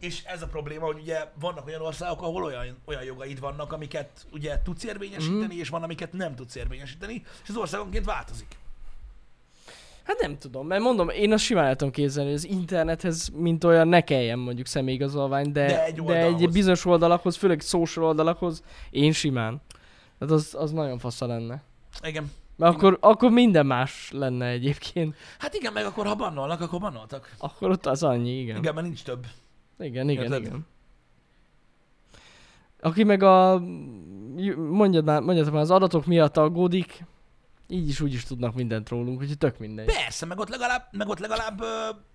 Speaker 1: És ez a probléma, hogy ugye vannak olyan országok, ahol olyan, olyan jogaid vannak, amiket ugye tudsz érvényesíteni,
Speaker 2: Mhm.
Speaker 1: mm. és van, amiket nem tudsz érvényesíteni, és az országonként változik.
Speaker 2: Hát nem tudom, mert mondom, én azt simán el tudom képzelni, hogy az internethez mint olyan ne kelljen mondjuk személyigazolvány, de,
Speaker 1: De egy
Speaker 2: de egy
Speaker 1: oldalhoz.
Speaker 2: bizonyos oldalakhoz, főleg social oldalakhoz, én simán. Tehát az, az nagyon fasza lenne.
Speaker 1: Igen.
Speaker 2: Mert akkor, akkor minden más lenne egyébként.
Speaker 1: Hát igen, meg akkor ha bannolnak, akkor bannoltak.
Speaker 2: Akkor ott az annyi, igen.
Speaker 1: Igen, mert nincs több.
Speaker 2: Igen, igen,
Speaker 1: Érted?
Speaker 2: igen. Aki meg a... Mondjad már, mondjad már, az adatok miatt aggódik, így is úgy is tudnak mindent rólunk, úgyhogy tök mindegy.
Speaker 1: Persze, meg ott legalább, meg ott legalább ö,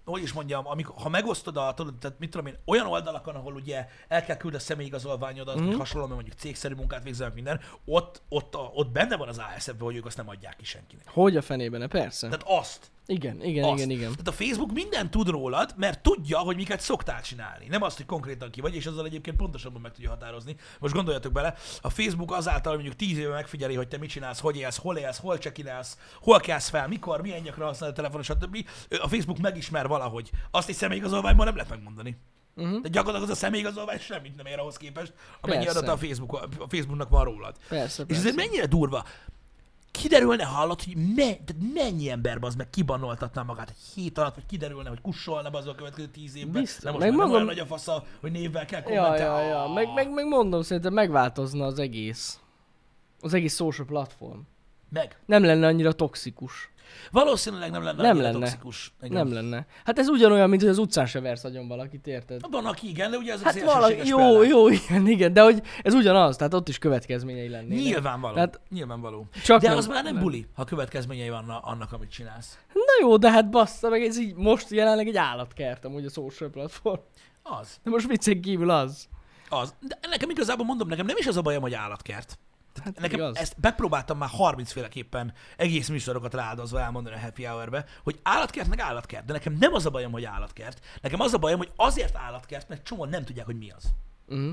Speaker 1: hogy is mondjam, amikor, ha megosztod a, tudod, tehát mit tudom én, olyan oldalakon, ahol ugye el kell küldni a személyigazolványodat,
Speaker 2: Mhm.
Speaker 1: mm. hasonlóan, mert mondjuk cégszerű munkát végzel, meg minden, ott, ott, a, ott benne van az ASF-ben, hogy ők azt nem adják ki senkinek.
Speaker 2: Hogy a fenében, ne? persze.
Speaker 1: Tehát azt,
Speaker 2: Igen, igen,
Speaker 1: azt.
Speaker 2: igen, igen.
Speaker 1: Tehát a Facebook mindent tud rólad, mert tudja, hogy miket szoktál csinálni. Nem azt, hogy konkrétan ki vagy, és azzal egyébként pontosabban meg tudja határozni. Most gondoljatok bele, a Facebook azáltal hogy mondjuk 10 éve megfigyeli, hogy te mit csinálsz, hogy élsz, hol élsz, hol csekinálsz, hol kelsz fel, mikor, milyen gyakran használod a telefonon, stb. Ő- A Facebook megismer valahogy. Azt egy személyigazolványban nem lehet megmondani.
Speaker 2: Mhm.
Speaker 1: De gyakorlatilag az a személyigazolvány semmit nem ér ahhoz képest, amennyi
Speaker 2: Persze.
Speaker 1: adata a, Facebook, a Facebooknak van rólad.
Speaker 2: Persze,
Speaker 1: És
Speaker 2: persze.
Speaker 1: ezért mennyire durva. Kiderülne, hallott, hogy me, tehát mennyi ember az meg kibanoltatná magát egy hét alatt, vagy kiderülne, hogy kussolna az a következő tíz évben.
Speaker 2: Biztos.
Speaker 1: Nem, most
Speaker 2: Meg
Speaker 1: meg már nem
Speaker 2: magam-
Speaker 1: olyan nagy a fasza, hogy névvel kell
Speaker 2: Ja,
Speaker 1: kommentálni.
Speaker 2: ja, ja. Meg, meg, meg mondom, szerintem megváltozna az egész. Az egész social platform.
Speaker 1: meg.
Speaker 2: Nem lenne annyira toxikus.
Speaker 1: Valószínűleg nem lenne
Speaker 2: Nem
Speaker 1: annyira
Speaker 2: lenne.
Speaker 1: toxikus. Igen.
Speaker 2: Nem lenne. Hát ez ugyanolyan, mint hogy az utcán se versz agyon valakit, érted?
Speaker 1: Hát Van, aki igen, de ugye ez
Speaker 2: Hát
Speaker 1: az
Speaker 2: valami, jó, jó, igen, igen, de hogy ez ugyanaz, tehát ott is következményei lennének.
Speaker 1: Nyilvánvaló.
Speaker 2: Tehát-
Speaker 1: Tehát, nyilvánvaló.
Speaker 2: Hát Csak
Speaker 1: De az már nem, buli, ha következményei vannak annak, amit csinálsz.
Speaker 2: Na jó, de hát bassza meg, ez így most jelenleg egy állatkert amúgy a social platform.
Speaker 1: Az.
Speaker 2: De most viccen kívül az.
Speaker 1: Az. De nekem igazából mondom, nekem nem is az a bajom, hogy állatkert.
Speaker 2: Hát
Speaker 1: Nekem
Speaker 2: igaz.
Speaker 1: ezt megpróbáltam már 30 féleképpen egész műsorokat ráadozva elmondani a happy hourbe, hogy állatkert meg állatkert, de nekem nem az a bajom, hogy állatkert, nekem az a bajom, hogy azért állatkert, mert csomóan nem tudják, hogy mi az.
Speaker 2: Mhm.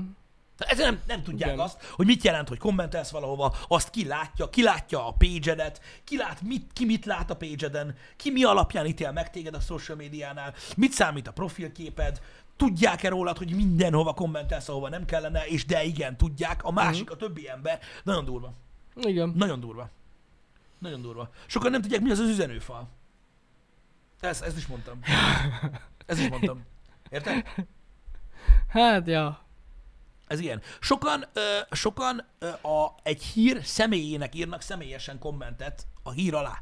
Speaker 1: Tehát ezért nem, nem tudják
Speaker 2: Igen.
Speaker 1: Igen. azt, hogy mit jelent, hogy kommentelsz valahova, azt ki látja, ki látja a page ki, lát, mit, ki mit lát a page ki mi alapján ítél meg téged a social médiánál, mit számít a profilképed, tudják-e rólad, hogy mindenhova kommentelsz, ahova nem kellene, és de igen, tudják, a
Speaker 2: Mhm.
Speaker 1: másik, a többi ember. Nagyon durva.
Speaker 2: Igen.
Speaker 1: Nagyon durva. Nagyon durva. Sokan nem tudják, mi az az üzenőfal. Ezt, ezt is mondtam. Ezt is mondtam. Érted?
Speaker 2: Hát, ja.
Speaker 1: Ez ilyen. Sokan, ö, sokan ö, a, egy hír személyének írnak személyesen kommentet a hír alá.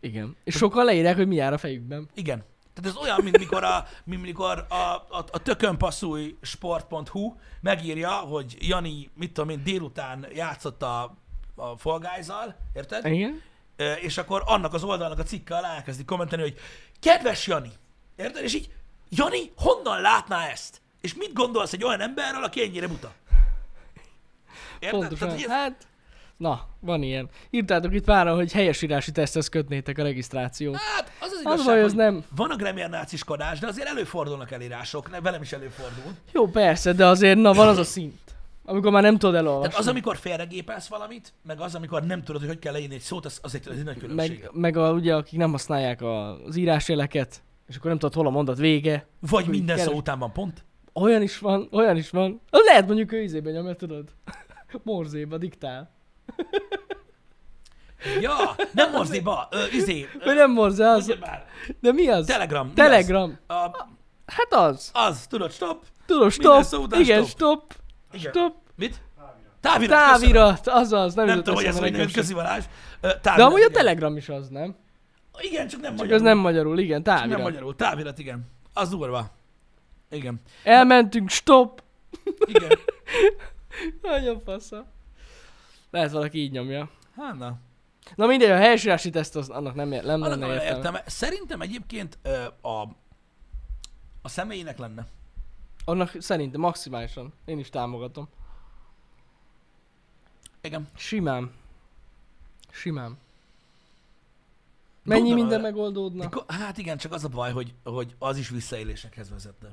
Speaker 2: Igen. És sokan leírják, hogy mi jár a fejükben.
Speaker 1: Igen. Tehát ez olyan, mint mikor a, mint mikor a, a, a tökönpasszúj sport.hu megírja, hogy Jani, mit tudom én, délután játszott a, a Fall Guys-zal, érted?
Speaker 2: Igen.
Speaker 1: Ö, és akkor annak az oldalnak a cikke alá elkezdi kommentelni, hogy kedves Jani, érted? És így, Jani, honnan látná ezt? És mit gondolsz egy olyan emberről, aki ennyire buta? Érted?
Speaker 2: Pontosan.
Speaker 1: Tehát, hogy ez,
Speaker 2: Hát, na, van ilyen. Írtátok itt páran, hogy helyesírási teszthez kötnétek a regisztrációt.
Speaker 1: hát, az az
Speaker 2: Az
Speaker 1: igazság,
Speaker 2: baj,
Speaker 1: hogy
Speaker 2: az nem.
Speaker 1: van a grammar náciskodás, de azért előfordulnak elírások, ne, velem is előfordul.
Speaker 2: Jó, persze, de azért, na, van az a szint. Amikor már nem tudod elolvasni.
Speaker 1: Tehát az, amikor félregépelsz valamit, meg az, amikor nem tudod, hogy hogy kell leírni egy szót, az, az egy, az egy nagy különbség.
Speaker 2: Meg, meg a, ugye, akik nem használják a- az írásjeleket, és akkor nem tudod, hol a mondat vége.
Speaker 1: Vagy minden
Speaker 2: keres-
Speaker 1: szó után van pont.
Speaker 2: Olyan is van, olyan is van. Az lehet mondjuk ő izébe nyomja, tudod? [laughs] Morzéba diktál.
Speaker 1: Ja, nem moziba, ö, izé, ö,
Speaker 2: [laughs] Vagy nem morzé, az.
Speaker 1: ugye már,
Speaker 2: De mi az?
Speaker 1: Telegram. mi az?
Speaker 2: Telegram.
Speaker 1: A,
Speaker 2: Hát az.
Speaker 1: az, tudod, stop.
Speaker 2: Tudom,
Speaker 1: Minden
Speaker 2: stop.
Speaker 1: szó után
Speaker 2: Igen,
Speaker 1: stop.
Speaker 2: stop.
Speaker 1: Igen.
Speaker 2: Stop.
Speaker 1: Mit? Távirat. Távirat.
Speaker 2: Távirat, azaz. Nem,
Speaker 1: Nem
Speaker 2: jutott
Speaker 1: tudom, hogy ez
Speaker 2: eszembe
Speaker 1: hogy
Speaker 2: nekem
Speaker 1: működik,
Speaker 2: sem.
Speaker 1: közi Balázs. Ö,
Speaker 2: De
Speaker 1: Távirat,
Speaker 2: amúgy a
Speaker 1: igen.
Speaker 2: Telegram is az, nem?
Speaker 1: Igen, csak nem
Speaker 2: Csak
Speaker 1: magyarul.
Speaker 2: az nem magyarul, igen,
Speaker 1: nem
Speaker 2: távirat.
Speaker 1: magyarul. Távirat, igen. Az durva.
Speaker 2: [laughs]
Speaker 1: Igen.
Speaker 2: Elmentünk,
Speaker 1: [laughs]
Speaker 2: stop.
Speaker 1: Igen.
Speaker 2: Nagyon fasza. Lehet valaki így nyomja.
Speaker 1: Hát na.
Speaker 2: Na mindegy, a helyesírási teszt az annak nem, ér, nem
Speaker 1: Annak
Speaker 2: lenne
Speaker 1: van
Speaker 2: értelme.
Speaker 1: értelme. Szerintem egyébként ö, a, a személyének lenne.
Speaker 2: Annak szerintem maximálisan. Én is támogatom.
Speaker 1: Igen.
Speaker 2: Simán. Simán. Mennyi
Speaker 1: Gondolom,
Speaker 2: minden
Speaker 1: ö,
Speaker 2: megoldódna?
Speaker 1: Mikor- Hát igen, csak az a baj, hogy, hogy az is visszaélésekhez vezetne.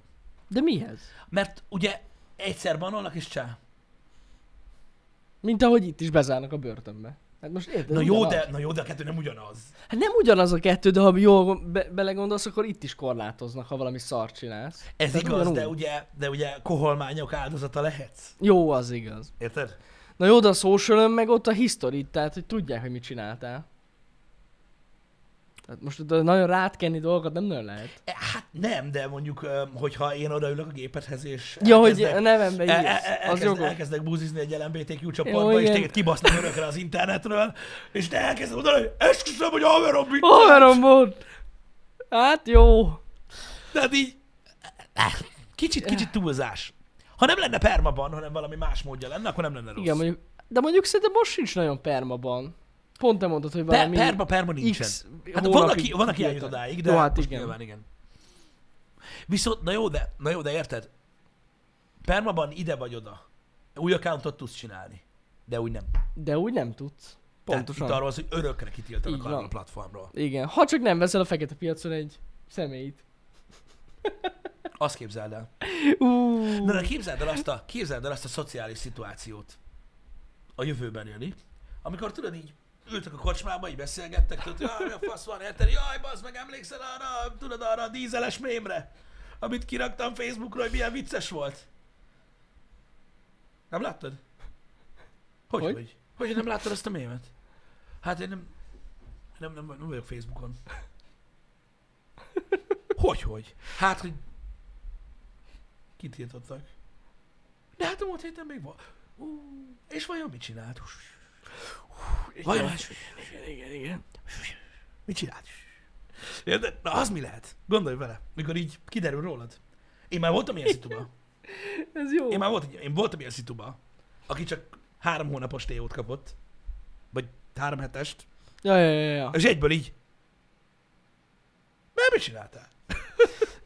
Speaker 2: De mihez?
Speaker 1: Mert ugye egyszer banolnak és csá.
Speaker 2: Mint ahogy itt is bezárnak a börtönbe. Hát most érted?
Speaker 1: Na jó,
Speaker 2: ugyanaz.
Speaker 1: de, na jó, de a kettő nem ugyanaz.
Speaker 2: Hát nem ugyanaz a kettő, de ha jól be- belegondolsz, akkor itt is korlátoznak, ha valami szart csinálsz.
Speaker 1: Ez
Speaker 2: Tehát
Speaker 1: igaz, de
Speaker 2: ugyanúgy.
Speaker 1: ugye, de ugye koholmányok áldozata lehetsz.
Speaker 2: Jó, az igaz.
Speaker 1: Érted?
Speaker 2: Na jó, de a social meg ott a history, tehát hogy tudják, hogy mit csináltál. Tehát most ott nagyon rátkenni dolgokat nem nagyon lehet.
Speaker 1: E, Hát nem, de mondjuk, öm, hogyha én odaülök a gépedhez és
Speaker 2: Ja, hogy a
Speaker 1: elkezdek-
Speaker 2: nevembe
Speaker 1: el- el-
Speaker 2: írsz,
Speaker 1: el-
Speaker 2: az
Speaker 1: elkezd,
Speaker 2: jogos.
Speaker 1: elkezdek búzizni egy LMBTQ
Speaker 2: Jó,
Speaker 1: csoportba, és
Speaker 2: igen.
Speaker 1: téged kibasznak örökre az internetről, és te elkezded mondani, hogy esküszöm, hogy haverom mit csinált."
Speaker 2: Haverom volt! Hát jó.
Speaker 1: Tehát így, e, kicsit, kicsit túlzás. Ha nem lenne permaban, hanem valami más módja lenne, akkor nem lenne rossz.
Speaker 2: Igen, mondjuk, de mondjuk szerintem most sincs nagyon permaban. Pont te mondtad, hogy
Speaker 1: per,
Speaker 2: valami...
Speaker 1: perma, perma nincsen.
Speaker 2: X
Speaker 1: Hát van,
Speaker 2: hónapig
Speaker 1: aki, van, aki eljut
Speaker 2: kiírták.
Speaker 1: odáig, de
Speaker 2: Jó, hát
Speaker 1: most
Speaker 2: igen.
Speaker 1: nyilván igen. Viszont, na jó, de, na jó, de érted? Permaban ide vagy oda. Új accountot tudsz csinálni. De úgy nem.
Speaker 2: De úgy nem tudsz. Pontosan.
Speaker 1: Tehát itt arról az, hogy örökre
Speaker 2: Így
Speaker 1: kitiltanak
Speaker 2: van.
Speaker 1: arról a platformról.
Speaker 2: Igen, ha csak nem veszel a fekete piacon egy személyt.
Speaker 1: Azt képzeld el.
Speaker 2: Úúúú.
Speaker 1: Na, de képzeld el azt a, képzeld el azt a szociális szituációt a jövőben, Jani, amikor tudod így ültök a kocsmába, így beszélgettek, tudod, hogy "Jaj, mi a fasz van, érted? Jaj, bazd meg, emlékszel arra, tudod, arra a dízeles mémre, amit kiraktam Facebookra, hogy milyen vicces volt. Nem láttad? Hogy,
Speaker 2: Hogy?
Speaker 1: hogy? Hogy, hogy nem láttad azt a mémet? Hát én nem, nem, nem, nem vagyok Facebookon. Hogy, hogy? Hát, hogy kitiltottak. De hát a múlt héten még van. Ú, és vajon mit csinált? Vajon hát,
Speaker 2: Igen, igen.
Speaker 1: mit csinált? Érted? Na az mi lehet? Gondolj vele, mikor így kiderül rólad. Én már voltam ilyen szituba.
Speaker 2: Ez jó.
Speaker 1: Én már voltam, én voltam ilyen szituba, aki csak három hónapos TO-t kapott. Vagy három hetest.
Speaker 2: Ja, ja, ja, ja.
Speaker 1: És egyből így. Már mit csináltál?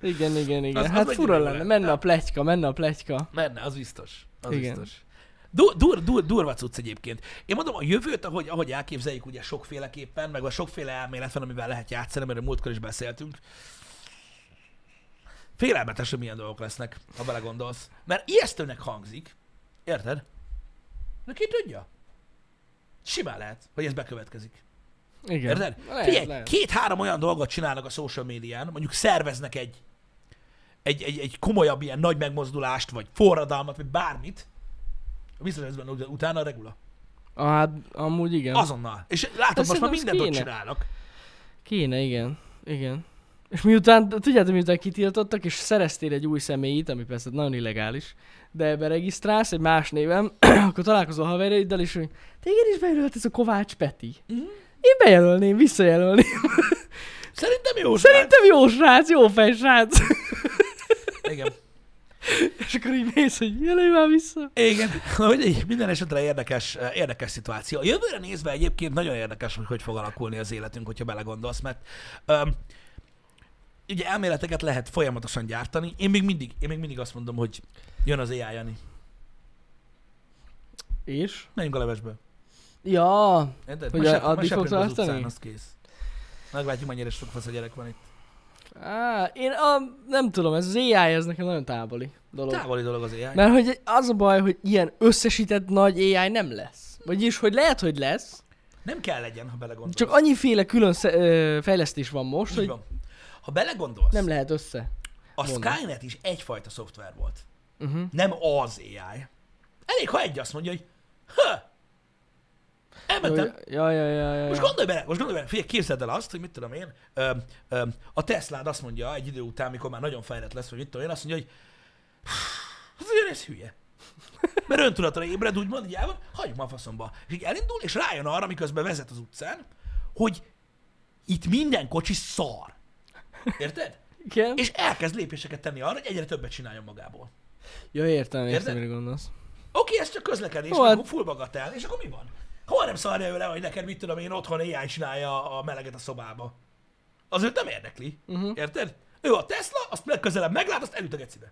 Speaker 2: Igen, igen, igen.
Speaker 1: Az- az
Speaker 2: hát
Speaker 1: mennyire
Speaker 2: fura
Speaker 1: jó
Speaker 2: lenne,
Speaker 1: lenne.
Speaker 2: menne a pletyka, menne a pletyka.
Speaker 1: Menne, az biztos. Az
Speaker 2: Igen.
Speaker 1: biztos. Dur, dur, dur, durva cucc egyébként. Én mondom, a jövőt, ahogy, ahogy elképzeljük ugye sokféleképpen, meg a sokféle elmélet van, amivel lehet játszani, mert múltkor is beszéltünk. Félelmetes, hogy milyen dolgok lesznek, ha belegondolsz. Mert ijesztőnek hangzik, érted? De ki tudja? Simán lehet, hogy ez bekövetkezik.
Speaker 2: Igen.
Speaker 1: Érted?
Speaker 2: Lehet,
Speaker 1: Figyelj,
Speaker 2: lehet.
Speaker 1: két-három olyan dolgot csinálnak a social médián, mondjuk szerveznek egy, egy, egy, egy komolyabb ilyen nagy megmozdulást, vagy forradalmat, vagy bármit, biztos ez benne, hogy utána regula.
Speaker 2: Ah, hát, amúgy igen.
Speaker 1: Azonnal. És látod,
Speaker 2: Azt
Speaker 1: most már
Speaker 2: szerintem
Speaker 1: mindent ott
Speaker 2: kéne.
Speaker 1: csinálnak.
Speaker 2: Kéne, igen. Igen. És miután, tudjátok, miután kitiltottak, és szereztél egy új személyit, ami persze nagyon illegális, de beregisztrálsz egy más névem, [clears throat] akkor találkozol haverjaiddal, és hogy téged is bejelölt ez a Kovács Peti.
Speaker 1: Mhm.
Speaker 2: Én bejelölném, visszajelölném.
Speaker 1: Szerintem jó. Szerintem.
Speaker 2: Szerintem jó srác, jó fej srác. [laughs]
Speaker 1: Igen.
Speaker 2: És akkor így mész, hogy jelölj már vissza.
Speaker 1: Igen. [laughs] Na, mindegy, minden esetre érdekes, eh, érdekes szituáció. A jövőre nézve egyébként nagyon érdekes, hogy hogy fog alakulni az életünk, hogyha belegondolsz, mert um, ugye elméleteket lehet folyamatosan gyártani. Én még mindig, én még mindig azt mondom, hogy jön az AI, Jani.
Speaker 2: És?
Speaker 1: Menjünk a levesbe.
Speaker 2: Ja,
Speaker 1: Érted?
Speaker 2: Hogy
Speaker 1: Ma
Speaker 2: a-
Speaker 1: sep- ma
Speaker 2: addig
Speaker 1: seprünk
Speaker 2: fogsz
Speaker 1: az utcán,
Speaker 2: tartani?
Speaker 1: az kész. Meglátjuk, mennyire sok fasz a gyerek van itt.
Speaker 2: Á, én a, nem tudom, ez az AI, ez nekem nagyon távoli dolog.
Speaker 1: Távoli dolog az AI.
Speaker 2: Mert hogy az a baj, hogy ilyen összesített nagy AI nem lesz. Vagyis, hogy lehet, hogy lesz,
Speaker 1: Nem kell legyen, ha belegondolsz.
Speaker 2: csak annyiféle külön sze- ö, fejlesztés van most,
Speaker 1: Így
Speaker 2: hogy
Speaker 1: van. Ha belegondolsz,
Speaker 2: nem lehet össze.
Speaker 1: a
Speaker 2: mondom.
Speaker 1: Skynet is egyfajta szoftver volt.
Speaker 2: Uh-huh.
Speaker 1: Nem az AI. Elég, ha egy azt mondja, hogy ha, elmentem,
Speaker 2: Ja, ja, ja, ja, ja.
Speaker 1: Most gondolj bele, most gondolj bele, figyelj, képzeld el azt, hogy mit tudom én, ö, ö, a Teslád azt mondja egy idő után, mikor már nagyon fejlett lesz, vagy mit tudom én, azt mondja, hogy hát azért ez hülye. Mert öntudatra ébred, úgymond, így el van, hagyjuk már a faszomba. És így elindul, és rájön arra, miközben vezet az utcán, hogy itt minden kocsi szar. Érted?
Speaker 2: Igen?
Speaker 1: És elkezd lépéseket tenni arra, hogy egyre többet csináljon magából.
Speaker 2: Ja, értem, értem,
Speaker 1: Érted?
Speaker 2: mire gondolsz.
Speaker 1: Oké, ez csak közlekedés,
Speaker 2: Jó, hát-
Speaker 1: akkor full bagatell, és akkor mi van? Hol nem szarja ő le, hogy neked mit tudom én, otthon AI csinálja a meleget a szobába? Az őt nem érdekli. Uh-huh. Érted? Ő a Tesla, azt legközelebb meglát, azt elüt a gecibe.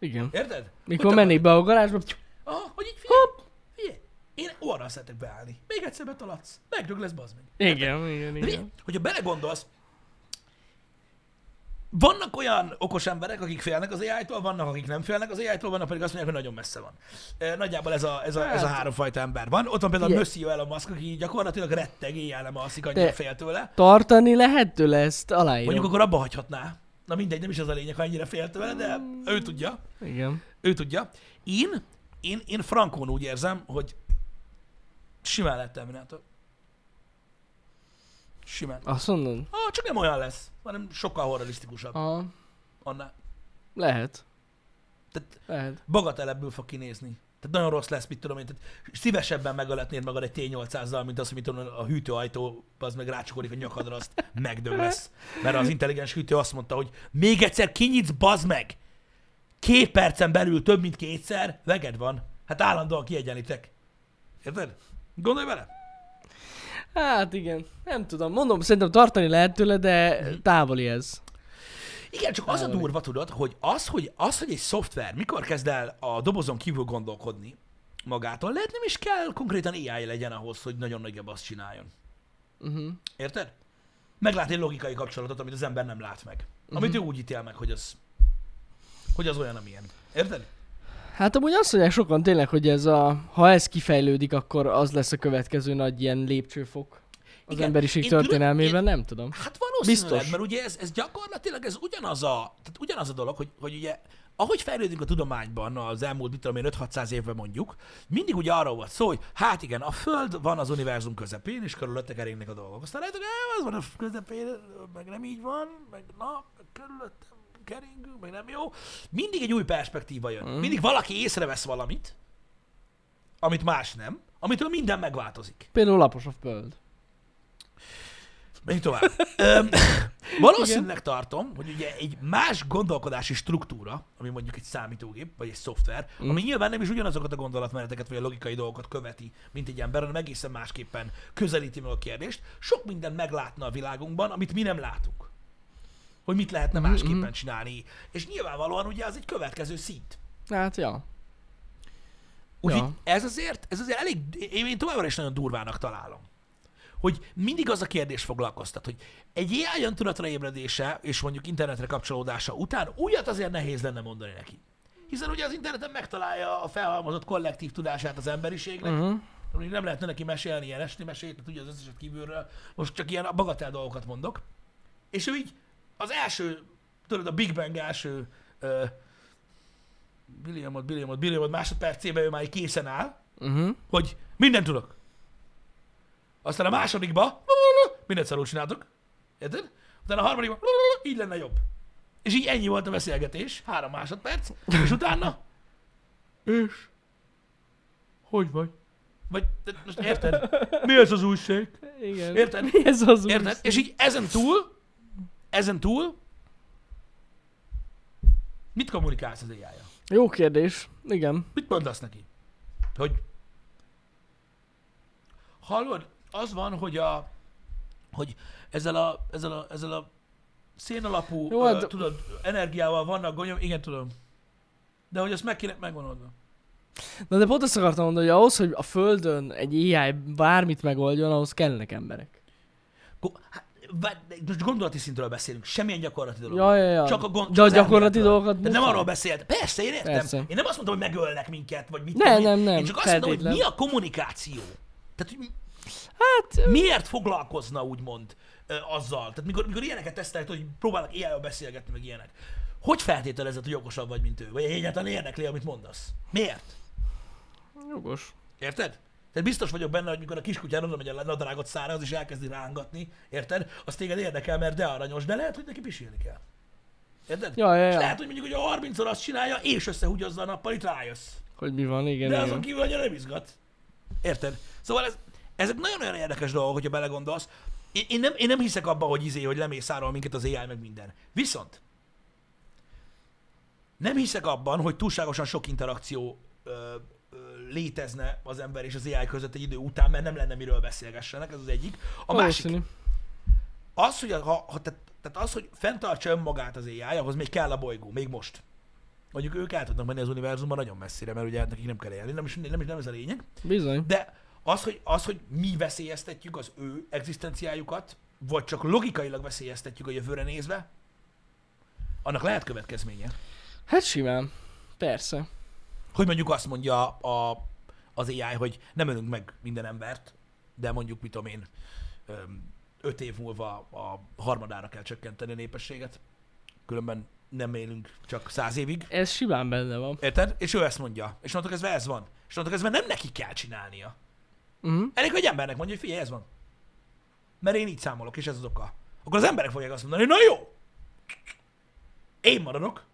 Speaker 2: Igen.
Speaker 1: Érted?
Speaker 2: Mikor mennék be a garázsba, ptyú,
Speaker 1: Aha, hogy így figyelj, figyelj. Én orra szeretek beállni. Még egyszer betaladsz. Megrög lesz, bazd meg.
Speaker 2: igen, igen,
Speaker 1: De
Speaker 2: igen.
Speaker 1: mi- Hogyha belegondolsz, vannak olyan okos emberek, akik félnek az AI-tól, vannak, akik nem félnek az AI-tól, vannak pedig azt mondják, hogy nagyon messze van. E, Nagyjából ez a, ez a, ez a
Speaker 2: Hát-
Speaker 1: háromfajta ember van. Ott van például
Speaker 2: Figyelj.
Speaker 1: Monsieur Elon Musk, aki gyakorlatilag retteg éjjel nem alszik, annyira
Speaker 2: De-
Speaker 1: fél tőle.
Speaker 2: Tartani lehet tőle ezt,
Speaker 1: Mondjuk
Speaker 2: aláírom.
Speaker 1: akkor abba hagyhatná. Na mindegy, nem is az a lényeg, ha ennyire fél tőle, de
Speaker 2: Mm.
Speaker 1: ő tudja.
Speaker 2: Igen.
Speaker 1: Ő tudja. Én, én, én frankon úgy érzem, hogy simán lett Terminátor. Simán.
Speaker 2: Azt mondod?
Speaker 1: Ah, csak nem olyan lesz, hanem sokkal horrorisztikusabb
Speaker 2: Aha.
Speaker 1: annál.
Speaker 2: Lehet.
Speaker 1: Tehát
Speaker 2: Lehet.
Speaker 1: bagatelebbül fog kinézni. Tehát nagyon rossz lesz, mit tudom én. Tehát szívesebben megöletnéd magad egy T800-zal, mint az, hogy mit tudom, én, a hűtőajtó az meg rácsukorodik a nyakadra, azt megdög lesz. Mert az intelligens hűtő azt mondta, hogy még egyszer kinyitsz, bazd meg! Két percen belül több, mint kétszer, veged van. Hát állandóan kiegyenlítek. Érted? Gondolj bele?
Speaker 2: Hát igen. Nem tudom, mondom, szerintem tartani lehet tőle, de távoli ez.
Speaker 1: Igen, csak az a
Speaker 2: Távoli.
Speaker 1: durva, tudod, hogy az, hogy, az, hogy egy szoftver mikor kezd el a dobozon kívül gondolkodni magától, lehet nem is kell konkrétan AI legyen ahhoz, hogy nagyon nagyobb azt csináljon.
Speaker 2: Uh-huh.
Speaker 1: Érted? Meglát egy logikai kapcsolatot, amit az ember nem lát meg. Amit ő úgy ítél meg, hogy az, hogy az olyan, amilyen. Érted?
Speaker 2: Hát amúgy azt mondják sokan tényleg, hogy ez a, ha ez kifejlődik, akkor az lesz a következő nagy ilyen lépcsőfok az
Speaker 1: Igen,
Speaker 2: Igen, emberiség
Speaker 1: én
Speaker 2: történelmében,
Speaker 1: tudom,
Speaker 2: nem tudom.
Speaker 1: Hát valószínűleg,
Speaker 2: Biztos.
Speaker 1: mert ugye ez, ez gyakorlatilag ez ugyanaz a, tehát ugyanaz a dolog, hogy, hogy ugye ahogy fejlődünk a tudományban az elmúlt, mit tudom én, 5-600 évben mondjuk, mindig ugye arról volt szó, hogy hát igen, a Föld van az univerzum közepén, és körülötte keringnek a dolgok. Aztán lehet, hogy "Á, az van a közepén, meg nem így van, meg na, meg körülötte keringünk, meg nem jó. Mindig egy új perspektíva jön. Mm. Mindig valaki észrevesz valamit, amit más nem, amitől minden megváltozik.
Speaker 2: Például lapos a föld.
Speaker 1: Menjünk tovább. Öm, valószínűleg tartom, hogy ugye egy más gondolkodási struktúra, ami mondjuk egy számítógép, vagy egy szoftver, mm. ami nyilván nem is ugyanazokat a gondolatmeneteket, vagy a logikai dolgokat követi, mint egy ember, hanem egészen másképpen közelíti meg a kérdést, sok mindent meglátna a világunkban, amit mi nem látunk. hogy mit lehetne másképpen csinálni. És nyilvánvalóan ugye az egy következő szint.
Speaker 2: Hát, ja.
Speaker 1: Úgyhogy
Speaker 2: Ja.
Speaker 1: ez azért, ez azért elég, én, én továbbra is nagyon durvának találom. Hogy mindig az a kérdés foglalkoztat, hogy egy AI öntudatra ébredése és mondjuk internetre kapcsolódása után újat azért nehéz lenne mondani neki. Hiszen ugye az interneten megtalálja a felhalmozott kollektív tudását az emberiségnek,
Speaker 2: Uh-huh.
Speaker 1: Mondjuk nem lehetne neki mesélni ilyen esti mesét, mert tudja az összeset kívülről. Most csak ilyen bagatel dolgokat mondok. És ő így az első, tudod, a Big Bang első uh, billiamod, billiamod, billiamod másodpercében ő már így készen áll,
Speaker 2: Uh-huh.
Speaker 1: hogy mindent tudok. Aztán a másodikba mindent szarul csináltok. Érted? Utána a harmadikba így lenne jobb. És így ennyi volt a beszélgetés, három másodperc, és utána
Speaker 2: És? Hogy vagy?
Speaker 1: vagy de most érted? Mi ez az újság?
Speaker 2: Igen.
Speaker 1: Érted?
Speaker 2: Mi [laughs] ez az úr?
Speaker 1: Érted? És így ezen túl, ezen túl, mit kommunikálsz az ai -ja?
Speaker 2: Jó kérdés. Igen.
Speaker 1: Mit mondasz neki? Hogy hallod, az van, hogy a hogy ezzel a, ezzel a, ezzel a szénalapú,
Speaker 2: Jó,
Speaker 1: Jó,
Speaker 2: hát-
Speaker 1: ö, tudod, energiával vannak gonyom, igen, tudom. De hogy ezt meg kéne megvonodva.
Speaker 2: Na de pont azt akartam mondani, hogy ahhoz, hogy a Földön egy AI bármit megoldjon, ahhoz kellnek emberek.
Speaker 1: Go- hát, várj, de Most gondolati szintről beszélünk, semmilyen gyakorlati dolog.
Speaker 2: Ja, ja, ja.
Speaker 1: Csak a gond,
Speaker 2: De a
Speaker 1: csak az
Speaker 2: gyakorlati
Speaker 1: elméletről.
Speaker 2: dolgokat
Speaker 1: De nem
Speaker 2: muszáj.
Speaker 1: arról beszélt. Persze, én értem.
Speaker 2: Persze.
Speaker 1: Persze. Én nem azt mondtam, hogy megölnek minket, vagy mit.
Speaker 2: Ne,
Speaker 1: tudom én.
Speaker 2: nem, nem,
Speaker 1: Én csak azt mondom, hogy
Speaker 2: feltétlen.
Speaker 1: mi a kommunikáció. Tehát, hogy
Speaker 2: Hát,
Speaker 1: miért foglalkozna úgymond ö, azzal? Tehát mikor, mikor ilyeneket tesztelek, hogy próbálnak ilyen beszélgetni, meg ilyenek. Hogy feltételezed, hogy okosabb vagy, mint ő? Vagy egyáltalán érdekli, amit mondasz? Miért?
Speaker 2: jogos.
Speaker 1: Érted? Tehát biztos vagyok benne, hogy mikor a kiskutyán oda megy a nadrágot szára, az is elkezdi rángatni, érted? Az téged érdekel, mert de aranyos, de lehet, hogy neki pisilni kell. Érted?
Speaker 2: Ja, ja,
Speaker 1: És
Speaker 2: ja.
Speaker 1: lehet, hogy mondjuk, hogy a 30 azt csinálja, és összehúgyozza a nappal, itt rájössz.
Speaker 2: Hogy mi van, igen,
Speaker 1: De
Speaker 2: igen.
Speaker 1: azon kívül annyira nem izgat. Érted? Szóval ez, ezek nagyon-nagyon érdekes dolgok, hogyha belegondolsz. Én, én, nem, én nem hiszek abba, hogy izé, hogy lemészárol minket az AI meg minden. Viszont nem hiszek abban, hogy túlságosan sok interakció ö, ö, létezne az ember és az AI között egy idő után, mert nem lenne miről beszélgessenek, ez az egyik. A másik,
Speaker 2: Valószínű.
Speaker 1: az, hogy, a, ha, ha, tehát, tehát az, hogy fenntartsa önmagát az AI, ahhoz még kell a bolygó, még most. Mondjuk ők el tudnak menni az univerzumban nagyon messzire, mert ugye nekik nem kell élni, nem is, nem is, nem ez a lényeg.
Speaker 2: Bizony.
Speaker 1: De az hogy, az, hogy mi veszélyeztetjük az ő egzisztenciájukat, vagy csak logikailag veszélyeztetjük a jövőre nézve, annak lehet következménye.
Speaker 2: Hát simán. Persze.
Speaker 1: Hogy mondjuk azt mondja a, az AI, hogy nem ölünk meg minden embert, de mondjuk, mit tudom én, öm, öt év múlva a harmadára kell csökkenteni a népességet, különben nem élünk csak száz évig.
Speaker 2: Ez simán benne van.
Speaker 1: Érted? És ő ezt mondja. És onnantól kezdve ez van. És onnantól kezdve nem neki kell csinálnia.
Speaker 2: Uh-huh.
Speaker 1: Elég, hogy egy embernek mondja, hogy figyelj, ez van. Mert én így számolok, és ez az oka. Akkor az emberek fogják azt mondani, hogy na jó, én maradok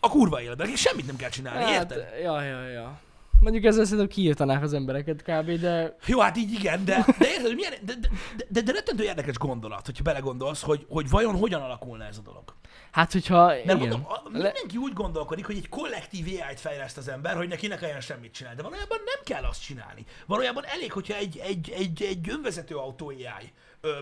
Speaker 1: a kurva életben, és semmit nem kell csinálni,
Speaker 2: Hát,
Speaker 1: érted?
Speaker 2: ja, ja, ja. Mondjuk ezzel szerintem kiírtanák az embereket kb, de
Speaker 1: Jó, hát így igen, de, de érted, hogy milyen, de, de, de, de rettentő érdekes gondolat, hogyha belegondolsz, hogy, hogy vajon hogyan alakulna ez a dolog.
Speaker 2: hát hogyha...
Speaker 1: Mert
Speaker 2: igen.
Speaker 1: mondom, a,
Speaker 2: Le-
Speaker 1: mindenki úgy gondolkodik, hogy egy kollektív AI-t fejleszt az ember, hogy neki ne kelljen semmit csinálni. De valójában nem kell azt csinálni. Valójában elég, hogyha egy, egy, egy, egy önvezető autó AI ö,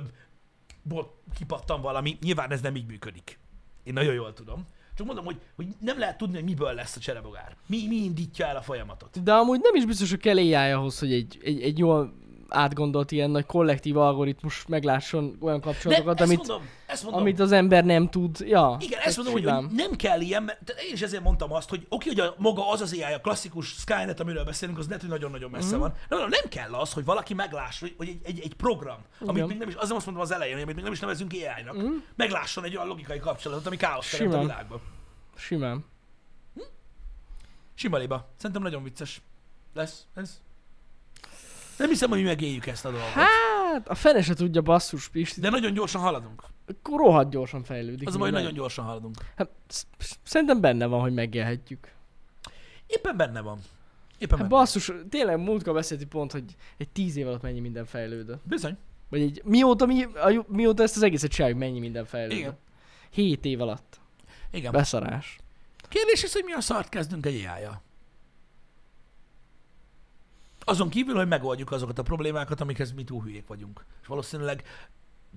Speaker 1: ból kipattan valami. Nyilván ez nem így működik. Én nagyon jól tudom. Csak mondom, hogy, hogy nem lehet tudni, hogy miből lesz a cserebogár. Mi, mi indítja el a folyamatot.
Speaker 2: De amúgy nem is biztos, hogy kell AI ahhoz, hogy egy, egy, egy jól átgondolt ilyen nagy kollektív algoritmus meglásson olyan
Speaker 1: De
Speaker 2: kapcsolatokat,
Speaker 1: ezt
Speaker 2: amit,
Speaker 1: mondom, ezt mondom.
Speaker 2: amit az ember nem tud. Ja,
Speaker 1: Igen,
Speaker 2: ez
Speaker 1: ezt mondom, hogy,
Speaker 2: simán.
Speaker 1: hogy nem kell ilyen, mert tehát én is ezért mondtam azt, hogy oké, hogy a, maga az az AI, a klasszikus Skynet, amiről beszélünk, az lehet, hogy nagyon-nagyon messze
Speaker 2: Mhm.
Speaker 1: van. De mondom, nem kell az, hogy valaki meglássa, hogy, hogy egy, egy, egy program, amit
Speaker 2: Igen. Mhm.
Speaker 1: még nem is, azért azt mondtam az elején, hogy amit még nem is nevezünk AI-nak, meglásson egy olyan logikai kapcsolatot, ami káosz teremt a
Speaker 2: Simán.
Speaker 1: világban.
Speaker 2: Simán.
Speaker 1: Sima liba. Szerintem nagyon vicces lesz ez. Nem hiszem, hogy mi megéljük ezt a dolgot.
Speaker 2: Hát, a fene se tudja basszus, Pisti. De
Speaker 1: De nagyon gyorsan haladunk.
Speaker 2: akkor rohadt gyorsan fejlődik.
Speaker 1: Az a baj, hogy
Speaker 2: minden.
Speaker 1: nagyon gyorsan haladunk.
Speaker 2: Hát, sz- sz- szerintem benne van, hogy megélhetjük.
Speaker 1: Éppen benne van. Éppen
Speaker 2: Hát
Speaker 1: benne. van.
Speaker 2: basszus, tényleg múltkor beszéltünk pont, hogy egy tíz év alatt mennyi minden fejlődött.
Speaker 1: Bizony.
Speaker 2: Vagy egy, mióta, mi, a, ju- mióta ezt az egészet csináljuk, mennyi minden fejlődött.
Speaker 1: Igen.
Speaker 2: Hét év alatt.
Speaker 1: Igen.
Speaker 2: Beszarás.
Speaker 1: Kérdés az, hogy mi a szart kezdünk egy ai Azon kívül, hogy megoldjuk azokat a problémákat, amikhez mi túl hülyék vagyunk. És valószínűleg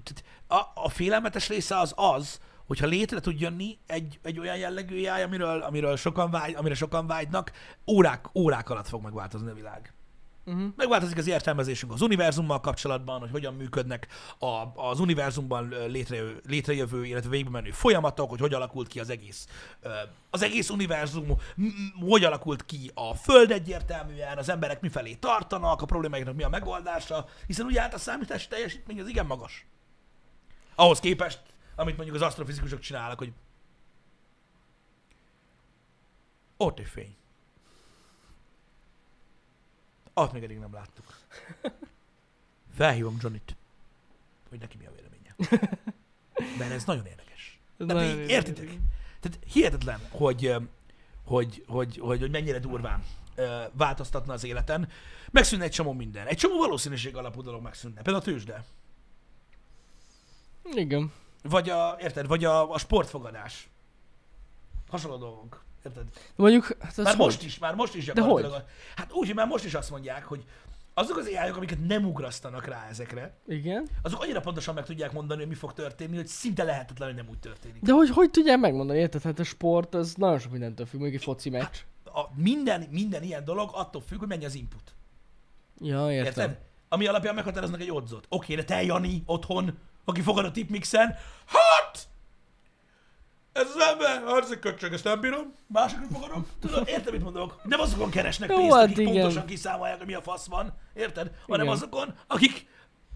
Speaker 1: tehát a, a félelmetes része az az, hogyha létre tud jönni egy, egy olyan jellegű AI, amiről, amiről sokan vágy, amire sokan vágynak, órák, órák alatt fog megváltozni a világ. Uh-huh. Megváltozik az értelmezésünk az univerzummal kapcsolatban, hogy hogyan működnek a, az univerzumban létrejövő, létrejövő, illetve végbe menő folyamatok, hogy hogy alakult ki az egész, ö, az egész univerzum, m- m- hogy alakult ki a Föld egyértelműen, az emberek mifelé tartanak, a problémáiknak mi a megoldása, hiszen ugye hát a számítási teljesítmény az igen magas. Ahhoz képest, amit mondjuk az asztrofizikusok csinálnak, hogy ott egy fény. Azt még eddig nem láttuk.
Speaker 2: [laughs]
Speaker 1: Felhívom Johnnyt, hogy neki mi a véleménye.
Speaker 2: [laughs]
Speaker 1: Mert ez nagyon érdekes.
Speaker 2: Ez
Speaker 1: Tehát
Speaker 2: nagyon
Speaker 1: így
Speaker 2: érdekes.
Speaker 1: értitek? Tehát hihetetlen, hogy, ö, hogy, hogy, hogy, hogy mennyire durván ö, változtatna az életen. Megszűnne egy csomó minden. Egy csomó valószínűség alapú dolog megszűnne. Például a tőzsde.
Speaker 2: Igen.
Speaker 1: Vagy a, érted? Vagy a, a sportfogadás. Hasonló dolgok. Érted?
Speaker 2: De mondjuk, hát az
Speaker 1: Már
Speaker 2: hogy?
Speaker 1: most is, már most is gyakorlatilag.
Speaker 2: hogy?
Speaker 1: a- Hát úgy, hogy már most is azt mondják, hogy azok az ai amiket nem ugrasztanak rá ezekre,
Speaker 2: Igen.
Speaker 1: azok annyira pontosan meg tudják mondani, hogy mi fog történni, hogy szinte lehetetlen, hogy nem úgy történik.
Speaker 2: De hogy, hogy tudják megmondani, érted? Hát a sport, az nagyon sok mindentől függ, mondjuk egy foci
Speaker 1: Hát,
Speaker 2: meccs.
Speaker 1: A minden, minden ilyen dolog attól függ, hogy mennyi az input.
Speaker 2: Ja, értem.
Speaker 1: Érted? Ami alapján meghatároznak egy odzot. Oké, de te Jani otthon, aki fogad a tipmixen, hát! Ez az ember, az egy köcsög, ezt nem bírom, másokat fogadom. Tudod, érted, mit mondok? Nem azokon keresnek
Speaker 2: Jó,
Speaker 1: pénzt,
Speaker 2: hát
Speaker 1: akik
Speaker 2: igen.
Speaker 1: pontosan kiszámolják, hogy mi a fasz van, érted? Hanem
Speaker 2: Igen.
Speaker 1: azokon, akik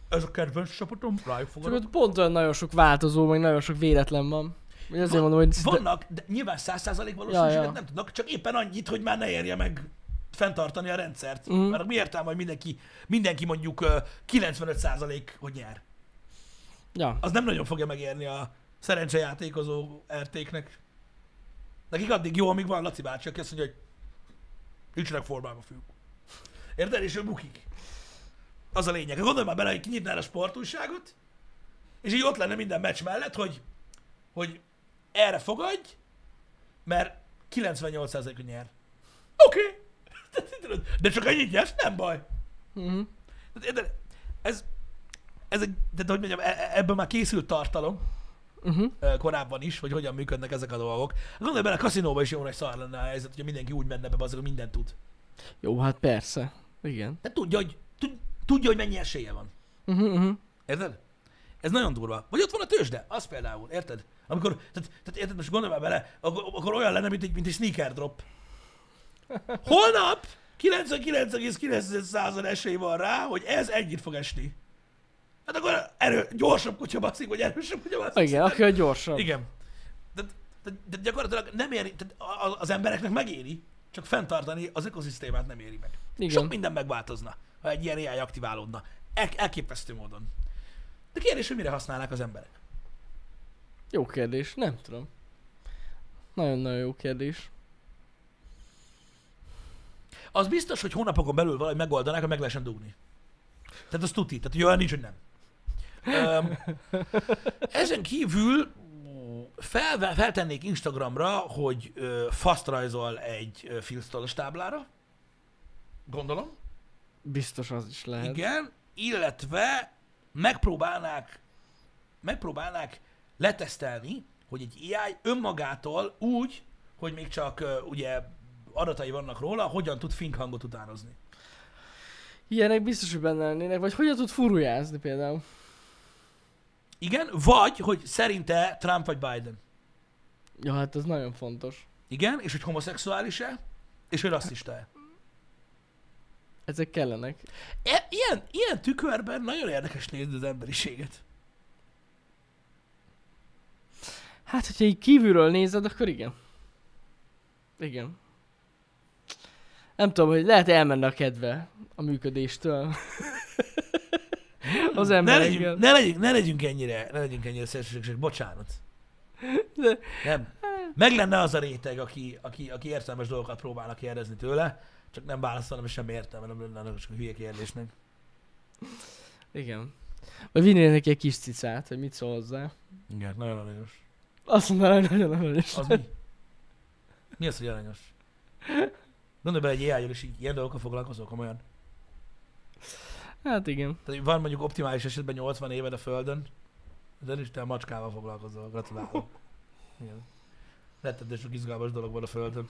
Speaker 1: ez a kedvenc csapatom, rájuk
Speaker 2: Csak
Speaker 1: fogadom.
Speaker 2: ott pont olyan nagyon sok változó, meg nagyon sok véletlen van. Ugye azért mondom, hogy...
Speaker 1: Vannak, de nyilván száz százalék valószínűséget
Speaker 2: ja.
Speaker 1: nem tudnak, csak éppen annyit, hogy már ne érje meg fenntartani a rendszert.
Speaker 2: Mhm.
Speaker 1: Mm. Mert mi értelme, hogy mindenki, mindenki mondjuk ö, 95 százalék, hogy nyer.
Speaker 2: Ja,
Speaker 1: az nem nagyon fogja megérni a szerencsejátékozó RT-knek. Nekik addig jó, amíg van Laci bácsi, aki azt mondja, hogy nincsenek formában fiúk. Érted? És ő bukik. Az a lényeg. Gondolj már bele, hogy kinyitnál a sportújságot, és így ott lenne minden meccs mellett, hogy, hogy erre fogadj, mert 98%-a nyer. Oké. Okay. De csak ennyit nyersz, nem baj.
Speaker 2: Mhm.
Speaker 1: De, de ez, ez egy, de, de hogy mondjam, e- e- ebből már készült tartalom
Speaker 2: Mhm.
Speaker 1: ö, korábban is, hogy hogyan működnek ezek a dolgok. Gondolj bele, a kaszinóban is jó nagy szar lenne a helyzet, hogyha mindenki úgy menne be, az, hogy mindent tud.
Speaker 2: jó, hát persze. Igen.
Speaker 1: De tudja, hogy, tud, tudja, hogy mennyi esélye van.
Speaker 2: Mhm,
Speaker 1: Hát
Speaker 2: mhm.
Speaker 1: Érted? Ez nagyon durva. Vagy ott van a tőzsde, az például, érted? Amikor, tehát, tehát érted, most gondolj már bele, akkor, akkor olyan lenne, mint egy, mint egy sneaker drop. Holnap 99,9% esély van rá, hogy ez ennyit fog esni. Hát akkor erő, gyorsabb kutya baszik, vagy erősebb kutya baszik.
Speaker 2: Igen, aki a gyorsabb.
Speaker 1: Igen. De, de, de gyakorlatilag nem éri, tehát a- a- az embereknek megéri, csak fenntartani az ökoszisztémát nem éri meg.
Speaker 2: Igen.
Speaker 1: Sok minden megváltozna, ha egy ilyen AI aktiválódna. El, elképesztő módon. De kérdés, hogy mire használnák az emberek?
Speaker 2: Jó kérdés, nem tudom. Nagyon-nagyon jó kérdés.
Speaker 1: Az biztos, hogy hónapokon belül valahogy megoldanák, hogy meg lehessen dugni. Tehát az tuti. Tehát hogy olyan nincs, hogy nem. Öm, ezen kívül fel, feltennék Instagramra, hogy ö, faszt rajzol egy ö, filztollas táblára. Gondolom.
Speaker 2: Biztos az is lehet.
Speaker 1: Igen, illetve megpróbálnák, megpróbálnák letesztelni, hogy egy AI önmagától úgy, hogy még csak ö, ugye adatai vannak róla, hogyan tud fink hangot utánozni.
Speaker 2: Ilyenek biztos, hogy benne lennének, vagy hogyan tud furujázni például.
Speaker 1: Igen, vagy, hogy szerinte Trump vagy Biden.
Speaker 2: Ja, hát ez nagyon fontos.
Speaker 1: Igen, és hogy homoszexuális-e, és hogy rasszista-e.
Speaker 2: Ezek kellenek.
Speaker 1: E- ilyen, ilyen tükörben nagyon érdekes nézni az emberiséget.
Speaker 2: Hát, hogyha így kívülről nézed, akkor igen. Igen. Nem tudom, hogy lehet elmenne a kedve a
Speaker 1: [laughs]
Speaker 2: működéstől. az
Speaker 1: Ne legyünk,
Speaker 2: emberekkel.
Speaker 1: ne, legyünk, ne legyünk ennyire, ne legyünk ennyire szélsőségesek, bocsánat.
Speaker 2: De-
Speaker 1: Nem. Meg lenne az a réteg, aki, aki, aki értelmes dolgokat próbálnak kérdezni tőle, csak nem válaszolom, és sem értelme, nem lenne annak csak a hülye kérdésnek.
Speaker 2: Igen. Vagy vinnél neki egy kis cicát, hogy mit szól hozzá.
Speaker 1: Igen, nagyon aranyos.
Speaker 2: Azt mondaná, hogy nagyon aranyos.
Speaker 1: Az mi? Mi az, hogy aranyos? Gondolj bele egy ai és így ilyen dolgokkal foglalkozok, komolyan.
Speaker 2: Hát igen.
Speaker 1: Tehát hogy van mondjuk optimális esetben 80 éved a földön, de is te a macskával foglalkozol, gratulálok. Igen. Rettetes sok izgalmas dolog van a Földön.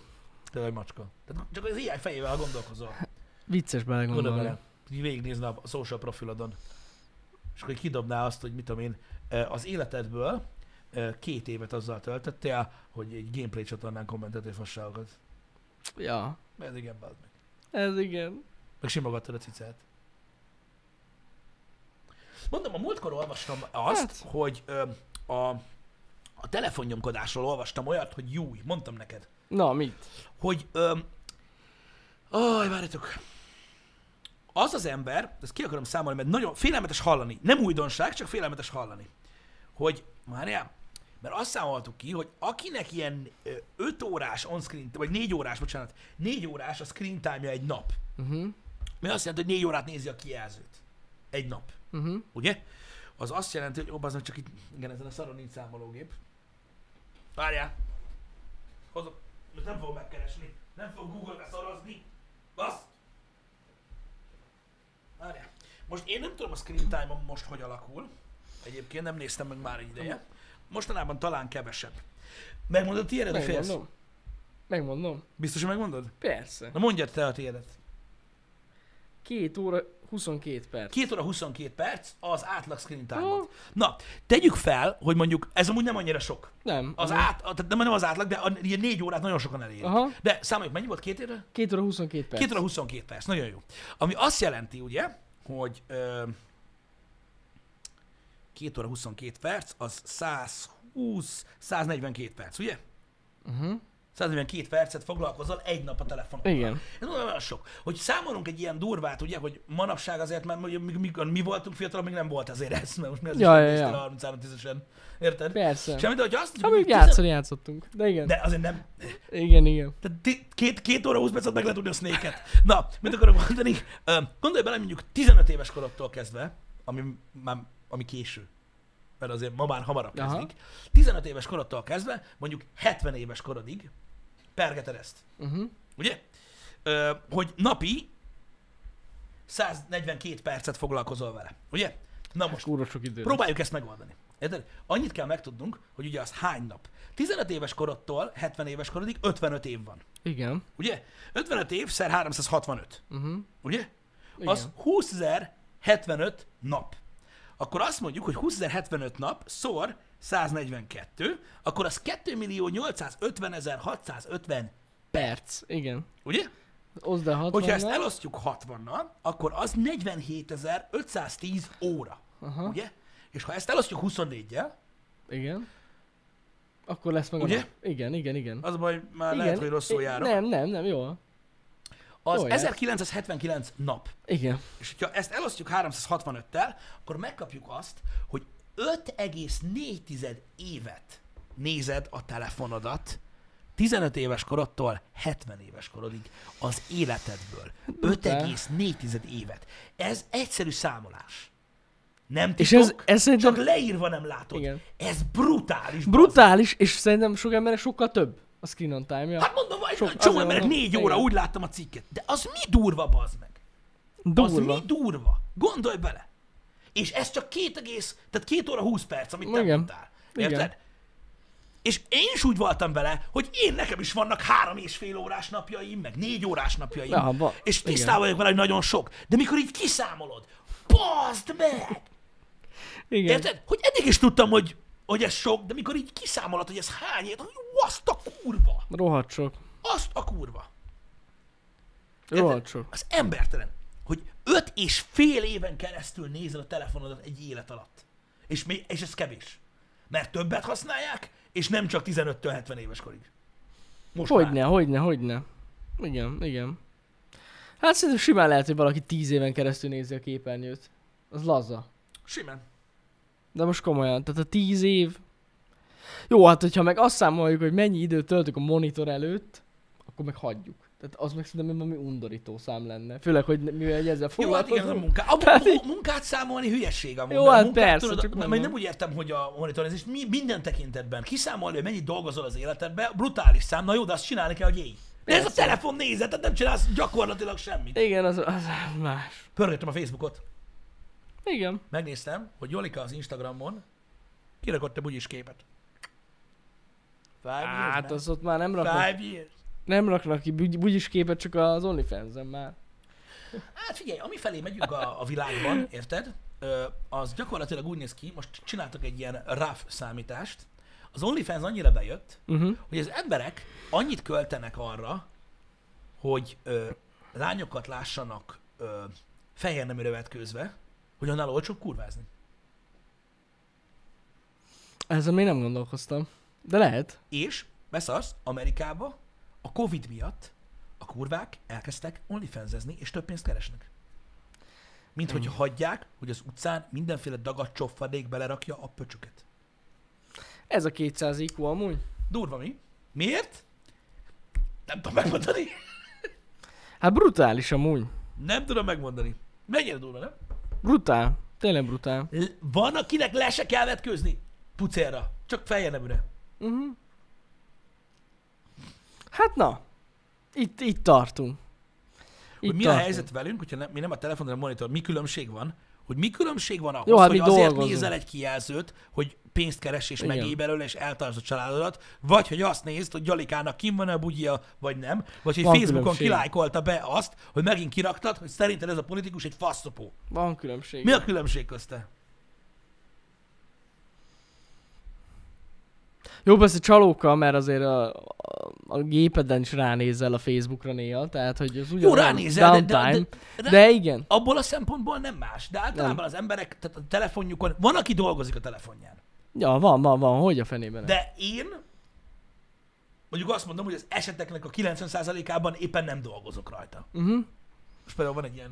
Speaker 1: Tényleg macska. Tehát csak az ilyen fejével ha gondolkozol.
Speaker 2: Vicces
Speaker 1: Gondolom
Speaker 2: belegondolni.
Speaker 1: bele. Így Végignézne a social profilodon. És akkor így kidobná azt, hogy mit tudom én, eh, az életedből eh, két évet azzal töltöttél, hogy egy gameplay csatornán kommentettél fasságokat.
Speaker 2: Ja,
Speaker 1: Ez igen, bazd meg.
Speaker 2: ez igen.
Speaker 1: Meg simogattad a cicát. Mondom, a múltkor olvastam azt, hát. hogy ö, a, a telefonnyomkodásról olvastam olyat, hogy júj, mondtam neked,
Speaker 2: Na, mit?
Speaker 1: hogy ö, aj, várjatok, az az ember, ezt ki akarom számolni, mert nagyon félelmetes hallani, nem újdonság, csak félelmetes hallani, hogy Mária, mert azt számoltuk ki, hogy akinek ilyen 5 órás on screen, vagy 4 órás, bocsánat, 4 órás a screen time egy nap,
Speaker 2: Uh-huh.
Speaker 1: mi azt jelenti, hogy négy órát nézi a kijelzőt. Egy nap.
Speaker 2: Uh-huh.
Speaker 1: Ugye? Az azt jelenti, hogy obaznak csak itt, igen, ezen a szaron nincs számológép. Várjál! Hozok, most nem fogom megkeresni. Nem fogok Google-be szorozni. Basz! Várjál. Most én nem tudom a screen time most hogy alakul. Egyébként nem néztem meg már egy ideje. Mostanában talán kevesebb. Megmondod a tiédet, hogy félsz?
Speaker 2: Megmondom. Megmondom.
Speaker 1: Biztos, hogy megmondod?
Speaker 2: Persze.
Speaker 1: Na mondjad te a tiédet.
Speaker 2: 2 óra 22 perc.
Speaker 1: 2 óra 22 perc az átlag screen time
Speaker 2: Ó.
Speaker 1: Na, tegyük fel, hogy mondjuk ez amúgy nem annyira sok.
Speaker 2: Nem.
Speaker 1: Az
Speaker 2: nem.
Speaker 1: át, a- tehát nem, nem az átlag, de a, ilyen 4 órát nagyon sokan elérik.
Speaker 2: Aha.
Speaker 1: De számoljuk, mennyi volt két évre?
Speaker 2: 2 óra 22 perc.
Speaker 1: 2 óra 22 perc, nagyon jó. Ami azt jelenti, ugye, hogy ö, 2 óra 22 perc, az 120, 142 perc, ugye?
Speaker 2: Uh-huh.
Speaker 1: 142 percet foglalkozol egy nap a telefonon.
Speaker 2: Igen.
Speaker 1: Ez mondom, olyan sok. Hogy számolunk egy ilyen durvát, ugye, hogy manapság azért, mert mondjuk, mi, mi, mi voltunk fiatalok, még nem volt azért ez, mert most mi az
Speaker 2: Ja, ja,
Speaker 1: is
Speaker 2: ja.
Speaker 1: ja. 33 tízesen. Érted?
Speaker 2: Persze.
Speaker 1: Semmit, hogy azt
Speaker 2: Hát
Speaker 1: hogy
Speaker 2: mondjuk játszani játszottunk. De igen.
Speaker 1: De azért nem.
Speaker 2: Igen, igen.
Speaker 1: Tehát ti- két, két óra, 20 percet meg lehet tudni a snake Na, mit akarok mondani? Ö, Gondolj bele mondjuk 15 éves korodtól kezdve, ami, már, ami késő, mert azért ma már hamarabb
Speaker 2: Aha.
Speaker 1: kezdik. 15 éves korodtól kezdve, mondjuk 70 éves korodig pergeted ezt.
Speaker 2: Uh-huh.
Speaker 1: Ugye? Ö, hogy napi 142 percet foglalkozol vele. Ugye? Na most,
Speaker 2: Kúra sok idő.
Speaker 1: próbáljuk ezt megoldani. Érted? Annyit kell megtudnunk, hogy ugye az hány nap. 15 éves korodtól 70 éves korodig 55 év van.
Speaker 2: Igen.
Speaker 1: Ugye? 55 év szer 365.
Speaker 2: Uh-huh.
Speaker 1: Ugye?
Speaker 2: Igen.
Speaker 1: Az 20.075 nap. Akkor azt mondjuk, hogy 20.075 nap szor 142, akkor az 2.850.650,
Speaker 2: Perc. Igen.
Speaker 1: ugye?
Speaker 2: Oszd el 60
Speaker 1: Hogyha ezt elosztjuk 60-nal, akkor az 47.510 óra.
Speaker 2: Aha.
Speaker 1: Ugye? És ha ezt elosztjuk 24-jel,
Speaker 2: Igen. Akkor lesz meg
Speaker 1: Ugye?
Speaker 2: a nap. Igen, igen, igen.
Speaker 1: az a baj, már
Speaker 2: igen.
Speaker 1: igen. lehet, hogy rosszul
Speaker 2: I-
Speaker 1: járok.
Speaker 2: Nem, nem, nem, jó.
Speaker 1: Az
Speaker 2: jól jársz.
Speaker 1: 1979 nap.
Speaker 2: Igen.
Speaker 1: És hogyha ezt elosztjuk 365-tel, akkor megkapjuk azt, hogy 5,4 évet nézed a telefonodat 15 éves korodtól 70 éves korodig az életedből.
Speaker 2: Hát,
Speaker 1: 5,4 évet. Ez egyszerű számolás. Nem titok,
Speaker 2: És ez, ez szerintem
Speaker 1: csak leírva nem látod.
Speaker 2: Igen.
Speaker 1: Ez brutális. bazd
Speaker 2: brutális, és szerintem sok embernek sokkal több a screen on time-ja.
Speaker 1: Hát mondom, hogy
Speaker 2: Sok-
Speaker 1: Sok, csomó
Speaker 2: azért
Speaker 1: emberek
Speaker 2: mondom,
Speaker 1: négy óra,
Speaker 2: igen.
Speaker 1: úgy láttam a cikket. De az mi durva, bazd meg? Az
Speaker 2: Durva.
Speaker 1: mi durva? Gondolj bele! És ez csak két egész, tehát két óra 20 perc, amit te
Speaker 2: Igen.
Speaker 1: mondtál. Érted?
Speaker 2: Igen.
Speaker 1: És én is úgy voltam vele, hogy én nekem is vannak három és fél órás napjaim, meg négy órás napjaim.
Speaker 2: Ja, ba-
Speaker 1: és
Speaker 2: igen.
Speaker 1: tisztában vagyok vele, hogy nagyon sok. De mikor így kiszámolod, bazd meg!
Speaker 2: Igen.
Speaker 1: Érted? Hogy eddig is tudtam, hogy, hogy ez sok, de mikor így kiszámolod, hogy ez hány, év, hogy jó, azt a kurva!
Speaker 2: Rohadt sok.
Speaker 1: Azt a kurva!
Speaker 2: Rohadt sok.
Speaker 1: Az embertelen, hogy öt és fél éven keresztül nézel a telefonodat egy élet alatt. És, mi, és ez kevés. Mert többet használják, és nem csak 15-től 70 éves korig. Most már.
Speaker 2: Hogyne, hogyne, hogyne. Igen, igen. Hát szerintem simán lehet, hogy valaki tíz éven keresztül nézi a képernyőt. Az laza.
Speaker 1: Simán.
Speaker 2: De most komolyan, tehát a 10 év... Jó, hát hogyha meg azt számoljuk, hogy mennyi időt töltök a monitor előtt, akkor meg hagyjuk. Tehát az meg szerintem valami undorító szám lenne. Főleg, hogy ne- mivel egy ezzel
Speaker 1: Jó, hát igen, az a
Speaker 2: foglalkozunk.
Speaker 1: munká... a,
Speaker 2: Tehát így-
Speaker 1: a munkát számolni hülyeség amúgy.
Speaker 2: Jó,
Speaker 1: mert a
Speaker 2: hát
Speaker 1: munkát,
Speaker 2: persze,
Speaker 1: tudod,
Speaker 2: csak
Speaker 1: mert
Speaker 2: mondom.
Speaker 1: nem úgy értem, hogy a monitorizás mi minden tekintetben. Kiszámolni, hogy mennyit dolgozol az életedben, brutális szám, na jó, de azt csinálni kell, hogy éj. De ez a
Speaker 2: Persze.
Speaker 1: telefon nézet, tehát nem csinálsz gyakorlatilag semmit.
Speaker 2: Igen, az, az más.
Speaker 1: Pörgetem a Facebookot.
Speaker 2: Igen.
Speaker 1: Megnéztem, hogy Jolika az Instagramon kirakott egy bugyis képet. Five years,
Speaker 2: Hát
Speaker 1: man.
Speaker 2: az ott már nem raknak,
Speaker 1: Five years.
Speaker 2: nem raknak ki bugy- bugyis képet, csak az OnlyFans-en már.
Speaker 1: Hát figyelj, ami felé megyünk a, a világban, érted? Ö, Az gyakorlatilag úgy néz ki, most csináltak egy ilyen rough számítást. Az OnlyFans annyira bejött,
Speaker 2: Uh-huh.
Speaker 1: hogy az emberek annyit költenek arra, hogy ö, lányokat lássanak ö, fehér neműre vetkőzve, hogy annál olcsóbb kurvázni.
Speaker 2: Ezzel még nem gondolkoztam. De lehet.
Speaker 1: És beszarsz, Amerikába a Covid miatt a kurvák elkezdtek onlyfansezni, és több pénzt keresnek. Mint hogy hagyják, hogy az utcán mindenféle dagadt csofadék belerakja a pöcsöket.
Speaker 2: Ez a 200 IQ amúgy.
Speaker 1: Durva mi? Miért? Nem tudom megmondani.
Speaker 2: Hát brutális amúgy.
Speaker 1: Nem tudom megmondani. Mennyire durva, nem?
Speaker 2: Brutál. Tényleg brutál.
Speaker 1: L- Van, akinek le se kell vetkőzni. Pucérra. Csak fejjeleműre.
Speaker 2: Uh-huh. Hát na. Itt, itt tartunk.
Speaker 1: Hogy
Speaker 2: Itt
Speaker 1: mi a
Speaker 2: tartunk.
Speaker 1: helyzet velünk, hogyha nem, mi nem a telefon, hanem a monitor, mi különbség van? Hogy mi különbség van ahhoz,
Speaker 2: Jó, hát
Speaker 1: hogy
Speaker 2: mi
Speaker 1: azért
Speaker 2: dolgozunk.
Speaker 1: nézel egy kijelzőt, hogy pénzt keres és
Speaker 2: Igen.
Speaker 1: megél belőle, és eltartsd a családodat, vagy hogy azt nézd, hogy Gyalikának kim van a bugyia, vagy nem, vagy hogy
Speaker 2: Van
Speaker 1: Facebookon
Speaker 2: különbség.
Speaker 1: kilájkolta be azt, hogy megint kiraktad, hogy szerinted ez a politikus egy faszopó.
Speaker 2: Van különbség.
Speaker 1: Mi a különbség közte?
Speaker 2: Jó, persze csalóka, mert azért a, a, a gépeden is ránézel a Facebookra néha, tehát hogy az ugyan
Speaker 1: Jó, ránézel, de- de-
Speaker 2: downtime,
Speaker 1: de- de-
Speaker 2: de igen.
Speaker 1: Abból a szempontból nem más, de általában nem. az emberek, tehát a telefonjukon, van, aki dolgozik a telefonján.
Speaker 2: Ja, van, van, van, hogy a fenében. De...
Speaker 1: De én mondjuk azt mondom, hogy az eseteknek a 90%-ában éppen nem dolgozok rajta.
Speaker 2: Uh-huh.
Speaker 1: Most például van egy ilyen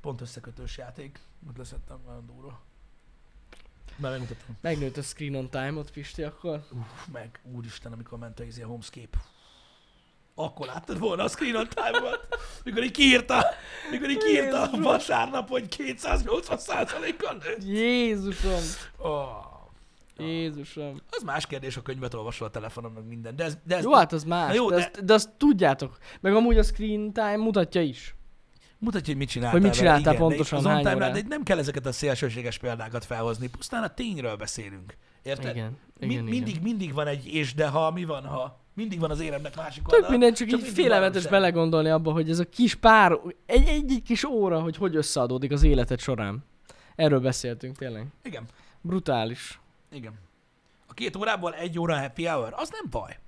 Speaker 1: pont összekötős játék, most leszettem nagyon durva. Már megmutattam.
Speaker 2: Megnőtt a screen on time-ot, Pisti, akkor.
Speaker 1: Uff, meg úristen, amikor ment a izé a homescape. Akkor láttad volna a screen on time-ot, mikor így kiírta, mikor így kiírta a vasárnap, hogy 280%-kal nőtt.
Speaker 2: Jézusom,
Speaker 1: Oh.
Speaker 2: Jézusom.
Speaker 1: Az más kérdés, a könyvet olvasol a telefonon, meg minden, de ez... De ez
Speaker 2: Jó, hát az más,
Speaker 1: Na jó,
Speaker 2: jó, de,
Speaker 1: de-
Speaker 2: azt, de azt tudjátok. Meg amúgy a screen time mutatja is.
Speaker 1: Mutatja, hogy mit csináltál.
Speaker 2: Hogy mit
Speaker 1: vele,
Speaker 2: csináltál
Speaker 1: igen, de
Speaker 2: pontosan,
Speaker 1: itt az on
Speaker 2: hány
Speaker 1: time
Speaker 2: órán.
Speaker 1: rád, de itt nem kell ezeket a szélsőséges példákat felhozni, pusztán a tényről beszélünk. Érted?
Speaker 2: Igen,
Speaker 1: Mi-
Speaker 2: igen,
Speaker 1: mindig, mindig van egy és de ha, mi van ha. Mindig van az éremnek másik
Speaker 2: Tök
Speaker 1: oldala.
Speaker 2: minden, csak, így
Speaker 1: mindig
Speaker 2: félelmetes
Speaker 1: valóság.
Speaker 2: belegondolni abba, hogy ez a kis pár, egy, egy, egy kis óra, hogy hogy összeadódik az életed során. Erről beszéltünk tényleg.
Speaker 1: Igen,
Speaker 2: Brutális.
Speaker 1: igen. A két órából egy óra happy hour, az nem baj.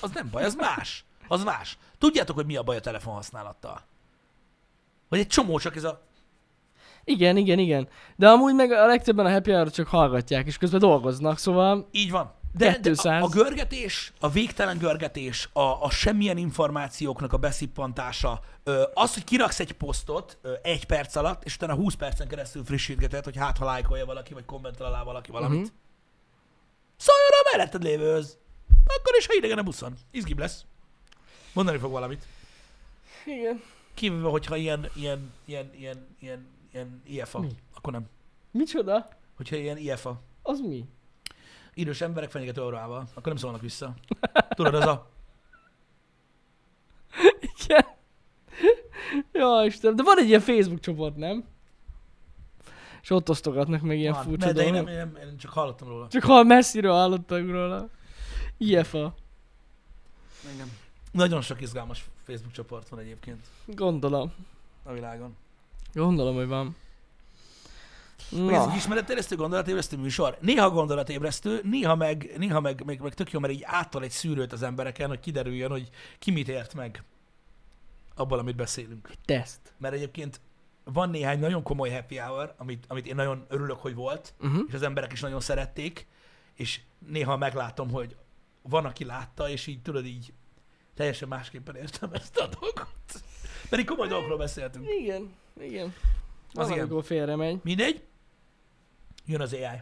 Speaker 1: Az nem baj, az más. Az más. Tudjátok, hogy mi a baj a telefonhasználattal? Hogy egy csomó csak ez a...
Speaker 2: Igen, igen, igen. De amúgy meg a legtöbben a happy hour csak hallgatják, és közben dolgoznak, szóval
Speaker 1: Így van. De, de a,
Speaker 2: 200.
Speaker 1: a görgetés, a végtelen görgetés, a, a semmilyen információknak a beszippantása, ö, az, hogy kiraksz egy posztot ö, egy perc alatt, és utána 20 percen keresztül frissítgeted, hogy hát ha lájkolja valaki, vagy kommentel alá valaki valamit.
Speaker 2: Mhm.
Speaker 1: Uh-huh. Szóljon a melletted lévőhöz. Akkor is, ha idegen a buszon. Izgibb lesz. Mondani fog valamit.
Speaker 2: igen.
Speaker 1: Kívülve, hogyha ilyen, ilyen, ilyen, ilyen, ilyen, ilyen IFA.
Speaker 2: Mi?
Speaker 1: Akkor nem.
Speaker 2: Micsoda?
Speaker 1: Hogyha ilyen IFA.
Speaker 2: Az mi?
Speaker 1: idős emberek fenyegető orrával, akkor nem szólnak vissza. Tudod, az a...
Speaker 2: [laughs] Igen. Jaj, Istenem, de van egy ilyen Facebook csoport, nem? És ott osztogatnak meg ilyen
Speaker 1: Van.
Speaker 2: furcsa
Speaker 1: Ne, de én nem,
Speaker 2: dolgokat.
Speaker 1: én, nem, én csak hallottam róla.
Speaker 2: Csak ha messziről hallottak róla. Ilyefa.
Speaker 1: Engem. Nagyon sok izgalmas Facebook csoport van egyébként
Speaker 2: Gondolom.
Speaker 1: a világon.
Speaker 2: Gondolom, hogy van.
Speaker 1: Ez
Speaker 2: Na.
Speaker 1: egy ismereterjesztő, gondolatébresztő műsor. Néha gondolatébresztő, néha meg, néha meg, meg, meg tök jó, mert így áttal egy szűrőt az embereken, hogy kiderüljön, hogy ki mit ért meg abból, amit beszélünk.
Speaker 2: Teszt.
Speaker 1: Mert egyébként van néhány nagyon komoly happy hour, amit, amit én nagyon örülök, hogy volt,
Speaker 2: Uh-huh.
Speaker 1: és az emberek is nagyon szerették, és néha meglátom, hogy van, aki látta, és így tudod, így teljesen másképpen értem ezt a dolgot. Pedig komoly dolgokról beszéltünk.
Speaker 2: Igen, igen.
Speaker 1: Az
Speaker 2: Az
Speaker 1: igen.
Speaker 2: amikor félre megy.
Speaker 1: Mindegy, jön az AI.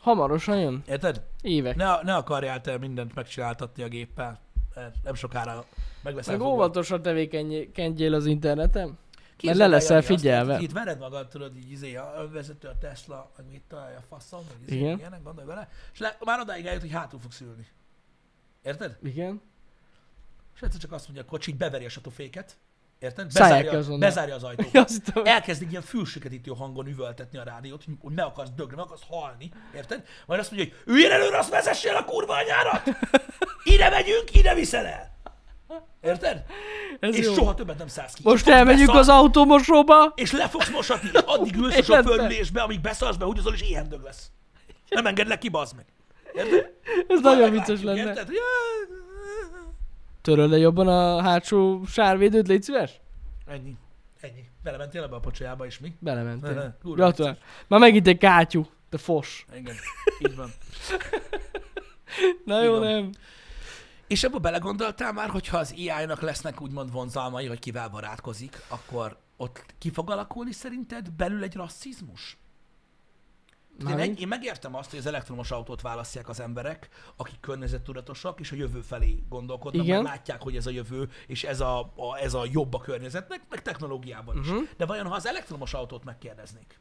Speaker 2: Hamarosan jön.
Speaker 1: Érted?
Speaker 2: Évek.
Speaker 1: Ne, ne akarjál te mindent megcsináltatni a géppel, mert nem sokára megveszel
Speaker 2: Meg
Speaker 1: fogva.
Speaker 2: óvatosan tevékenykedjél az interneten.
Speaker 1: Képzeld
Speaker 2: le leszel
Speaker 1: el, Jani, azt,
Speaker 2: figyelve.
Speaker 1: hogy Itt vered magad, tudod, így izé, a önvezető, a Tesla, meg mit találja, a faszom, meg izé,
Speaker 2: Igen.
Speaker 1: ilyenek, gondolj bele. És le, már odáig eljut, hogy hátul fogsz ülni. Érted?
Speaker 2: Igen.
Speaker 1: És egyszer csak azt mondja a kocsi, így beveri a satuféket, Érted?
Speaker 2: Szállják ki
Speaker 1: Bezárja,
Speaker 2: azonnal.
Speaker 1: bezárja az
Speaker 2: [laughs]
Speaker 1: ajtót.
Speaker 2: [laughs] Azt tudom.
Speaker 1: Elkezdik ilyen fülsüketítő hangon üvöltetni a rádiót, hogy- hogy meg akarsz dögni, meg akarsz halni, érted? Majd azt mondja, hogy üljél előre, azt vezessél a kurva anyárat! Ide megyünk, ide viszel el! Érted?
Speaker 2: Ez
Speaker 1: és
Speaker 2: jó.
Speaker 1: soha többet nem szállsz ki.
Speaker 2: Most
Speaker 1: Fogsz
Speaker 2: elmegyünk
Speaker 1: beszarni,
Speaker 2: az autómosóba.
Speaker 1: És le fogsz mosatni, és addig ülsz a
Speaker 2: Életben.
Speaker 1: sofőrülésbe, amíg beszarsz be, húgyozol, és éhen dög lesz. Nem engedlek ki, bazd meg. Érted?
Speaker 2: Ez
Speaker 1: Majd
Speaker 2: nagyon
Speaker 1: meglátjuk,
Speaker 2: vicces lenne.
Speaker 1: Érted? Ja.
Speaker 2: Töröl le jobban a hátsó sárvédőt, légy szíves?
Speaker 1: Ennyi. Ennyi. Belementél ebbe a pocsajába, és mi? Ne, ne,
Speaker 2: Belementél.
Speaker 1: kurva
Speaker 2: Gratulál. Már megint egy kátyú. Te fos.
Speaker 1: Igen, így van.
Speaker 2: Na jó,
Speaker 1: Igen.
Speaker 2: nem.
Speaker 1: [laughs] És abba belegondoltál már, hogyha az AI-nak lesznek úgymond vonzalmai, hogy kivel barátkozik, akkor ott ki fog alakulni szerinted belül egy rasszizmus? Én,
Speaker 2: Mármint?
Speaker 1: egy, én megértem azt, hogy az elektromos autót választják az emberek, akik környezettudatosak, és a jövő felé gondolkodnak,
Speaker 2: Igen.
Speaker 1: mert látják, hogy ez a jövő, és ez a, a, ez a jobb a környezetnek, meg technológiában
Speaker 2: Mhm.
Speaker 1: is. Uh-huh. De vajon, ha az elektromos autót megkérdeznék,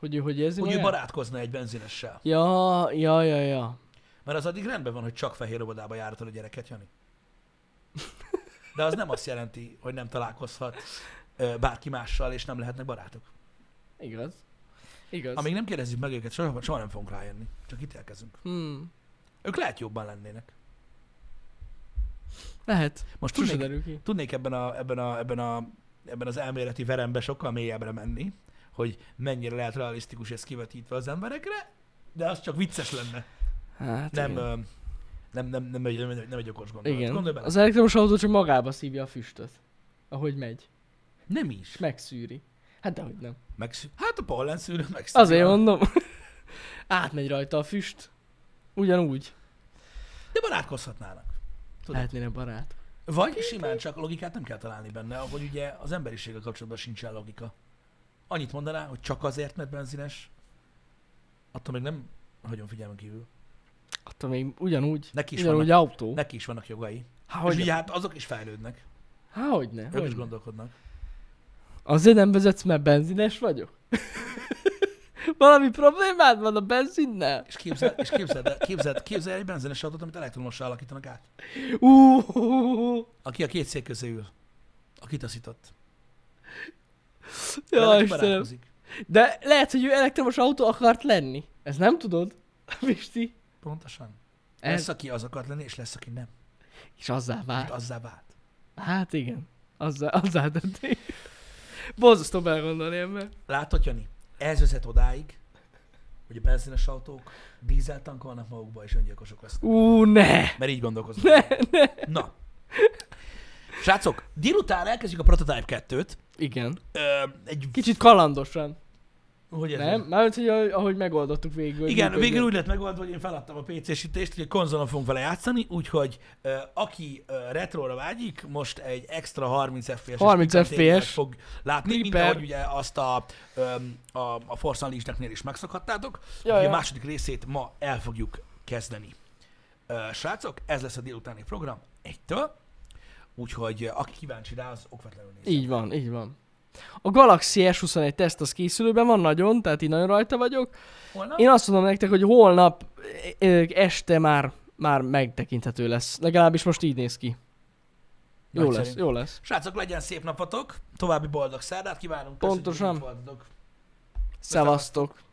Speaker 2: Hogy ő hogy érzi
Speaker 1: hogy ő
Speaker 2: magát?
Speaker 1: barátkozna egy benzinessel?
Speaker 2: Ja, ja, ja, ja.
Speaker 1: Mert az addig rendben van, hogy csak fehér óvodába járatod a gyereket, Jani. De az nem azt jelenti, hogy nem találkozhat ö, bárki mással, és nem lehetnek barátok.
Speaker 2: Igaz. Igaz.
Speaker 1: Amíg nem kérdezzük meg őket, soha, soha nem fogunk rájönni. Csak ítélkezünk.
Speaker 2: Hmm.
Speaker 1: Ők lehet jobban lennének.
Speaker 2: Lehet.
Speaker 1: Most
Speaker 2: Sose
Speaker 1: tudnék,
Speaker 2: derül ki.
Speaker 1: tudnék ebben, a, ebben, a, ebben, a, ebben az elméleti verembe sokkal mélyebbre menni, hogy mennyire lehet realisztikus ez kivetítve az emberekre, de az csak vicces lenne.
Speaker 2: Hát,
Speaker 1: Nem,
Speaker 2: igen.
Speaker 1: ö, nem, nem, nem, egy- nem, egy- nem egy okos gondolat.
Speaker 2: igen.
Speaker 1: Gondolj bele.
Speaker 2: Az elektromos autó csak magába szívja a füstöt. Ahogy megy.
Speaker 1: Nem is.
Speaker 2: Megszűri. Hát dehogy nem.
Speaker 1: Megszű... Hát a pollen szűrő megszűrő.
Speaker 2: Azért mondom. [laughs] Átmegy rajta a füst. Ugyanúgy.
Speaker 1: De barátkozhatnának. Tudod.
Speaker 2: Lehetnének barát.
Speaker 1: Vagy simán csak logikát nem kell találni benne, ahogy ugye az emberiséggel kapcsolatban sincsen logika. Annyit mondaná, hogy csak azért, mert benzines, attól még nem hagyom figyelmen kívül.
Speaker 2: Attól még ugyanúgy.
Speaker 1: Neki is
Speaker 2: ugyanúgy autó.
Speaker 1: Neki is vannak jogai.
Speaker 2: Há,
Speaker 1: Hogy és
Speaker 2: hogy,
Speaker 1: ugye hát azok is fejlődnek.
Speaker 2: há, hogy ne.
Speaker 1: Ők is
Speaker 2: Hogy ne.
Speaker 1: gondolkodnak.
Speaker 2: Azért nem vezetsz, mert benzines vagyok? [laughs] Valami problémád van a benzinnel?
Speaker 1: És képzeld, és képzeld, el- képzeld, képzeld el egy benzines autót, amit elektromossal alakítanak át.
Speaker 2: Uh,
Speaker 1: Aki a két szék közé ül. A kitaszított. Vele
Speaker 2: ja,
Speaker 1: ki
Speaker 2: Istenem.
Speaker 1: barátkozik.
Speaker 2: De lehet, hogy ő elektromos autó akart lenni. Ez nem tudod, [laughs] Misti?
Speaker 1: Pontosan. Lesz,
Speaker 2: Ez,
Speaker 1: aki az akart lenni, és lesz, aki nem.
Speaker 2: és azzá
Speaker 1: Hát
Speaker 2: vált.
Speaker 1: azzá vált.
Speaker 2: Hát igen. Azzá, azzá tették. Borzasztó belgondolni ember.
Speaker 1: Látod, Jani? Ez vezet odáig, hogy a benzines autók dízeltankolnak magukba, és öngyilkosok lesznek.
Speaker 2: Ú, ne!
Speaker 1: Mert így gondolkoznak. Na. Srácok, délután elkezdjük a Prototype 2-t.
Speaker 2: Igen.
Speaker 1: Ö, egy...
Speaker 2: Kicsit kalandosan,
Speaker 1: Hogy ez
Speaker 2: nem? Mármint, hogy ahogy ahogy megoldottuk végül. hogy
Speaker 1: Igen,
Speaker 2: működjön.
Speaker 1: végül úgy lett megoldva, hogy én feladtam a PC-sítést, hogy a konzolon fogunk vele játszani, úgyhogy ö, aki ö, retróra vágyik, most egy extra 30 FPS-es
Speaker 2: 30
Speaker 1: pikantériát
Speaker 2: FPS.
Speaker 1: fog látni, mint
Speaker 2: Creeper.
Speaker 1: ahogy ugye azt a, ö, a, a Force Unleashed-neknél is megszokhattátok.
Speaker 2: Ja,
Speaker 1: Ja, ja.
Speaker 2: ja.
Speaker 1: A második részét ma el fogjuk kezdeni. Ö, srácok, ez lesz a délutáni program egytől, úgyhogy ö, aki kíváncsi rá, az okvetlenül nézze.
Speaker 2: Így van, így van. A Galaxy S21 teszt az készülőben van nagyon, tehát így nagyon rajta vagyok.
Speaker 1: Holnap?
Speaker 2: Én azt mondom nektek, hogy holnap ö, ö, este már, már megtekinthető lesz. Legalábbis most így néz ki. Jó
Speaker 1: Nagyszerű.
Speaker 2: lesz, jó lesz.
Speaker 1: Srácok, legyen szép napotok, további boldog szerdát kívánunk.
Speaker 2: Pontosan.
Speaker 1: Köszönjük, hogy itt voltatok.
Speaker 2: Szevasztok.